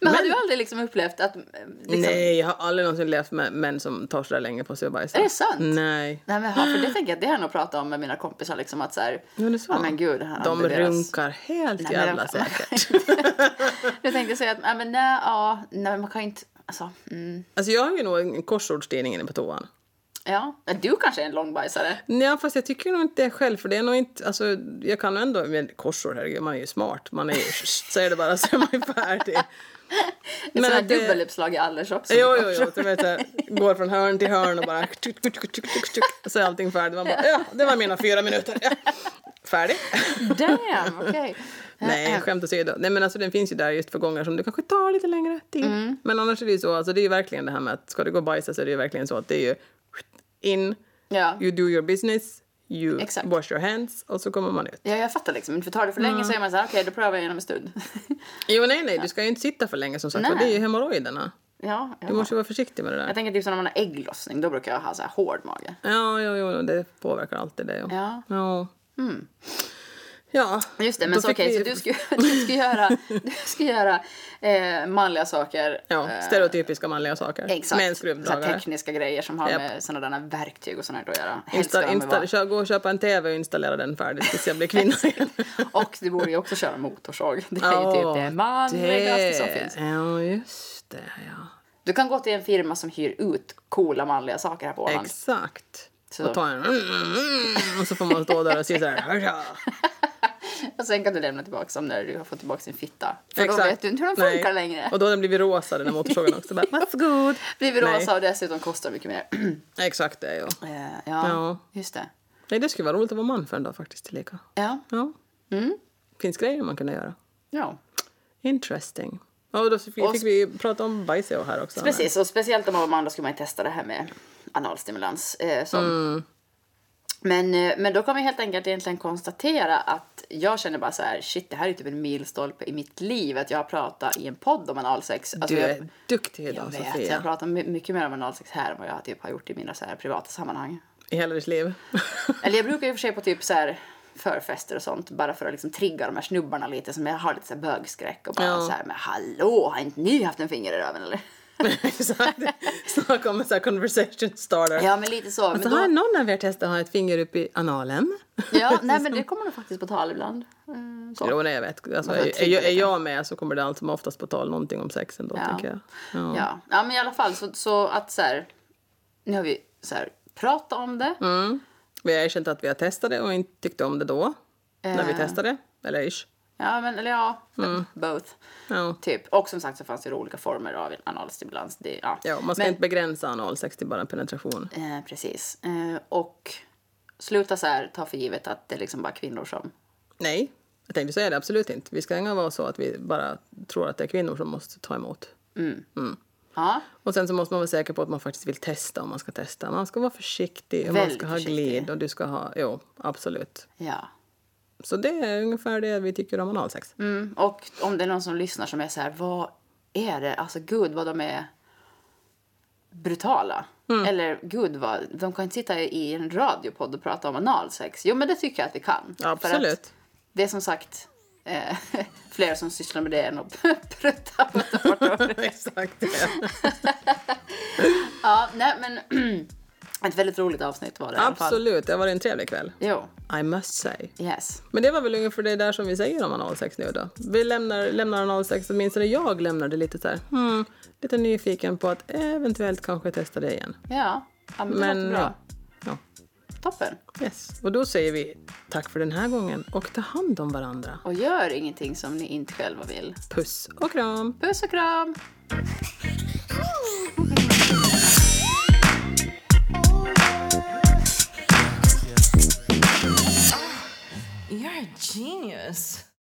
Speaker 2: Men, har du aldrig liksom upplevt att... eh, Liksom,
Speaker 1: Nej, jag har aldrig någonsin levt med män som tar så där länge på sig och bajsar.
Speaker 2: Är det sant?
Speaker 1: Nej.
Speaker 2: Nej men ja, för det tänker jag, det har jag nog pratat om med mina kompisar liksom att så här,
Speaker 1: Ja, det är så.
Speaker 2: ja men gud, han
Speaker 1: de
Speaker 2: deras-
Speaker 1: runkar helt
Speaker 2: Nej, men alltså-
Speaker 1: jävla
Speaker 2: de-
Speaker 1: säkert.
Speaker 2: Jag tänkte säga att, nej men nej, ja, nej men man kan ju inte, alltså, mm,
Speaker 1: Alltså jag har ju nog en korsordstidning inne på toan.
Speaker 2: ja. Men Du kanske är en långbajsare?
Speaker 1: Nej, fast jag tycker nog inte det själv. För det är nog inte, alltså, jag kan nog ändå... Men korsord, herregud, man är ju smart. Man är ju, säger det bara så är man ju färdig.
Speaker 2: Men Sådana
Speaker 1: att det-
Speaker 2: dubbeluppslag i Allershop som
Speaker 1: Jo,
Speaker 2: går-
Speaker 1: jo, jo. Du vet, så här, går från hörn till hörn och bara... Tuk, tuk, tuk, tuk, tuk, tuk, så är allting färdigt. Man bara, ja, det var mina fyra minuter. Ja. Färdig.
Speaker 2: Damn, okej. Äh,
Speaker 1: Nej, skämt åsido. Nej, men alltså den finns ju där just för gånger som det kanske tar lite längre tid.
Speaker 2: Mm.
Speaker 1: Men annars är det ju så, alltså det är ju verkligen det här med att ska du gå och bajsa så är det ju verkligen så att det är ju in,
Speaker 2: Ja.
Speaker 1: you do your business, you
Speaker 2: Exakt.
Speaker 1: wash your hands och så kommer man ut.
Speaker 2: ja, jag fattar liksom. För tar det för
Speaker 1: Mm.
Speaker 2: länge så är man så här, okej då prövar jag igen om en stund.
Speaker 1: Jo, nej, nej, du ska ju inte sitta för länge som sagt för
Speaker 2: Nej.
Speaker 1: det är ju hemorrojderna.
Speaker 2: ja,
Speaker 1: Du
Speaker 2: ja.
Speaker 1: måste ju vara försiktig med det
Speaker 2: Jag
Speaker 1: där.
Speaker 2: tänker typ så när man har ägglossning, då brukar jag ha så här hård mage.
Speaker 1: Ja, jo, jo, det påverkar alltid det. Ja.
Speaker 2: Ja. Mm.
Speaker 1: Ja. ja.
Speaker 2: Just det,
Speaker 1: Då
Speaker 2: men så
Speaker 1: fick
Speaker 2: okej,
Speaker 1: vi-
Speaker 2: så du ska, du ska göra, du ska göra eh, manliga saker.
Speaker 1: Ja,
Speaker 2: eh,
Speaker 1: stereotypiska manliga saker.
Speaker 2: Exakt.
Speaker 1: Med en
Speaker 2: så här
Speaker 1: skruvdragare.
Speaker 2: tekniska grejer som har
Speaker 1: Japp.
Speaker 2: med sådana där verktyg och sånt där att göra. Helst ska
Speaker 1: Insta,
Speaker 2: de ju
Speaker 1: insta, kö- gå och köpa en tv och installera den färdigt tills jag blir kvinna igen.
Speaker 2: vara- Och du borde ju också köra motorsåg. Det är ju
Speaker 1: Åh,
Speaker 2: typ det manligaste som
Speaker 1: det-
Speaker 2: finns.
Speaker 1: Ja, just det. Ja.
Speaker 2: Du kan gå till en firma som hyr ut coola manliga saker här på Åland.
Speaker 1: Exakt.
Speaker 2: Så.
Speaker 1: Och ta en... Mm, Och så får man stå där och se så här... "Hurra."
Speaker 2: Och sen kan du lämna tillbaka dem när du har fått tillbaka din fitta. För då vet du inte hur de
Speaker 1: Nej.
Speaker 2: funkar längre.
Speaker 1: Och då har den blivit rosa, den här motorsågen också. Bara, What's good?
Speaker 2: Blivit
Speaker 1: Nej.
Speaker 2: rosa och dessutom kostar mycket mer.
Speaker 1: Exakt det, ja.
Speaker 2: Eh, ja,
Speaker 1: Ja.
Speaker 2: just det.
Speaker 1: Nej, det skulle vara roligt att vara man för en dag faktiskt tillika.
Speaker 2: Ja.
Speaker 1: Ja.
Speaker 2: Mm.
Speaker 1: Finns grejer man kunde göra.
Speaker 2: ja.
Speaker 1: Interesting. Ja, och då fick,
Speaker 2: Och-
Speaker 1: fick vi prata om bajseo här också.
Speaker 2: Precis, och speciellt om man var man då skulle man ju testa det här med analstimulans. Eh, som.
Speaker 1: Mm.
Speaker 2: Men, eh, men då kan vi helt enkelt egentligen konstatera att jag känner bara så här, shit det här är typ en milstolpe i mitt liv att jag har pratat i en podd om analsex. Alltså,
Speaker 1: Du
Speaker 2: jag,
Speaker 1: är duktig
Speaker 2: jag
Speaker 1: idag,
Speaker 2: vet,
Speaker 1: Sofia.
Speaker 2: jag pratar my- mycket mer om analsex här än vad jag typ har gjort i mina så här privata sammanhang.
Speaker 1: I hela ditt liv.
Speaker 2: Eller jag brukar ju för sig på typ så här förfester och sånt bara för att liksom trigga de här snubbarna lite som jag har lite så här bögskräck och bara
Speaker 1: Ja.
Speaker 2: så här men hallå har inte ni haft en finger i röven eller?
Speaker 1: Exakt. Snacka om en sån här conversation starter.
Speaker 2: Ja men lite så.
Speaker 1: Så
Speaker 2: men
Speaker 1: har någon av er testat att ha ett finger upp i analen?
Speaker 2: Ja, nej men det kommer nog faktiskt på tal ibland. Mm, så.
Speaker 1: Jo, nej, jag vet. Alltså,
Speaker 2: Man får
Speaker 1: är, är,
Speaker 2: trigga
Speaker 1: jag- är
Speaker 2: lite.
Speaker 1: jag med så kommer det allt som oftast på tal någonting om sex ändå,
Speaker 2: Ja.
Speaker 1: tänker jag. Ja.
Speaker 2: Ja. ja, men i alla fall så, så att så här, nu har vi så här, pratat om det.
Speaker 1: Mm. Vi har erkänt att vi har testat det och inte tyckte om det då, när
Speaker 2: Eh.
Speaker 1: vi testade. Eller ish.
Speaker 2: Ja, men eller ja,
Speaker 1: Mm.
Speaker 2: both.
Speaker 1: Ja.
Speaker 2: Typ. Och som sagt så fanns det ju olika former av analstimulans. Det, ja.
Speaker 1: Ja, man ska
Speaker 2: men,
Speaker 1: inte begränsa analsex till bara en penetration.
Speaker 2: eh, precis. Eh, och sluta så här, ta för givet att det är liksom bara kvinnor som...
Speaker 1: Nej, jag tänkte säga det absolut inte. Vi ska inte vara så att vi bara tror att det är kvinnor som måste ta emot.
Speaker 2: Ja,
Speaker 1: Och sen så måste man vara säker på att man faktiskt vill testa om man ska testa. Man ska vara försiktig och man
Speaker 2: Väldigt
Speaker 1: ska ha
Speaker 2: försiktig.
Speaker 1: glid och du ska ha, jo, absolut.
Speaker 2: ja.
Speaker 1: Så det är ungefär det vi tycker om analsex.
Speaker 2: Mm, och om det är någon som lyssnar som är så här, vad är det? Alltså gud vad de är brutala.
Speaker 1: Mm.
Speaker 2: Eller gud vad, de kan inte sitta i en radiopodd och prata om analsex. Jo men det tycker jag att vi kan. För att
Speaker 1: Absolut.
Speaker 2: det är som sagt eh, fler som sysslar med det än att prutta på datorn.
Speaker 1: Exakt det.
Speaker 2: Ja, nej men Ett väldigt roligt avsnitt var det i alla fall.
Speaker 1: Absolut, det var en trevlig kväll.
Speaker 2: Jo,
Speaker 1: I must say.
Speaker 2: yes.
Speaker 1: Men det var väl ungefär det där som vi säger om analsex nu då. Vi lämnar, lämnar analsex, åtminstone jag lämnade lite så här, hmm, lite nyfiken på att eventuellt kanske testa det igen.
Speaker 2: Ja, ja men det
Speaker 1: Men
Speaker 2: låter
Speaker 1: ja.
Speaker 2: bra.
Speaker 1: ja.
Speaker 2: Toppen.
Speaker 1: Yes. Och då säger vi tack för den här gången och ta hand om varandra.
Speaker 2: Och gör ingenting som ni inte själva vill.
Speaker 1: Puss och kram!
Speaker 2: Puss och kram!
Speaker 3: You're a genius.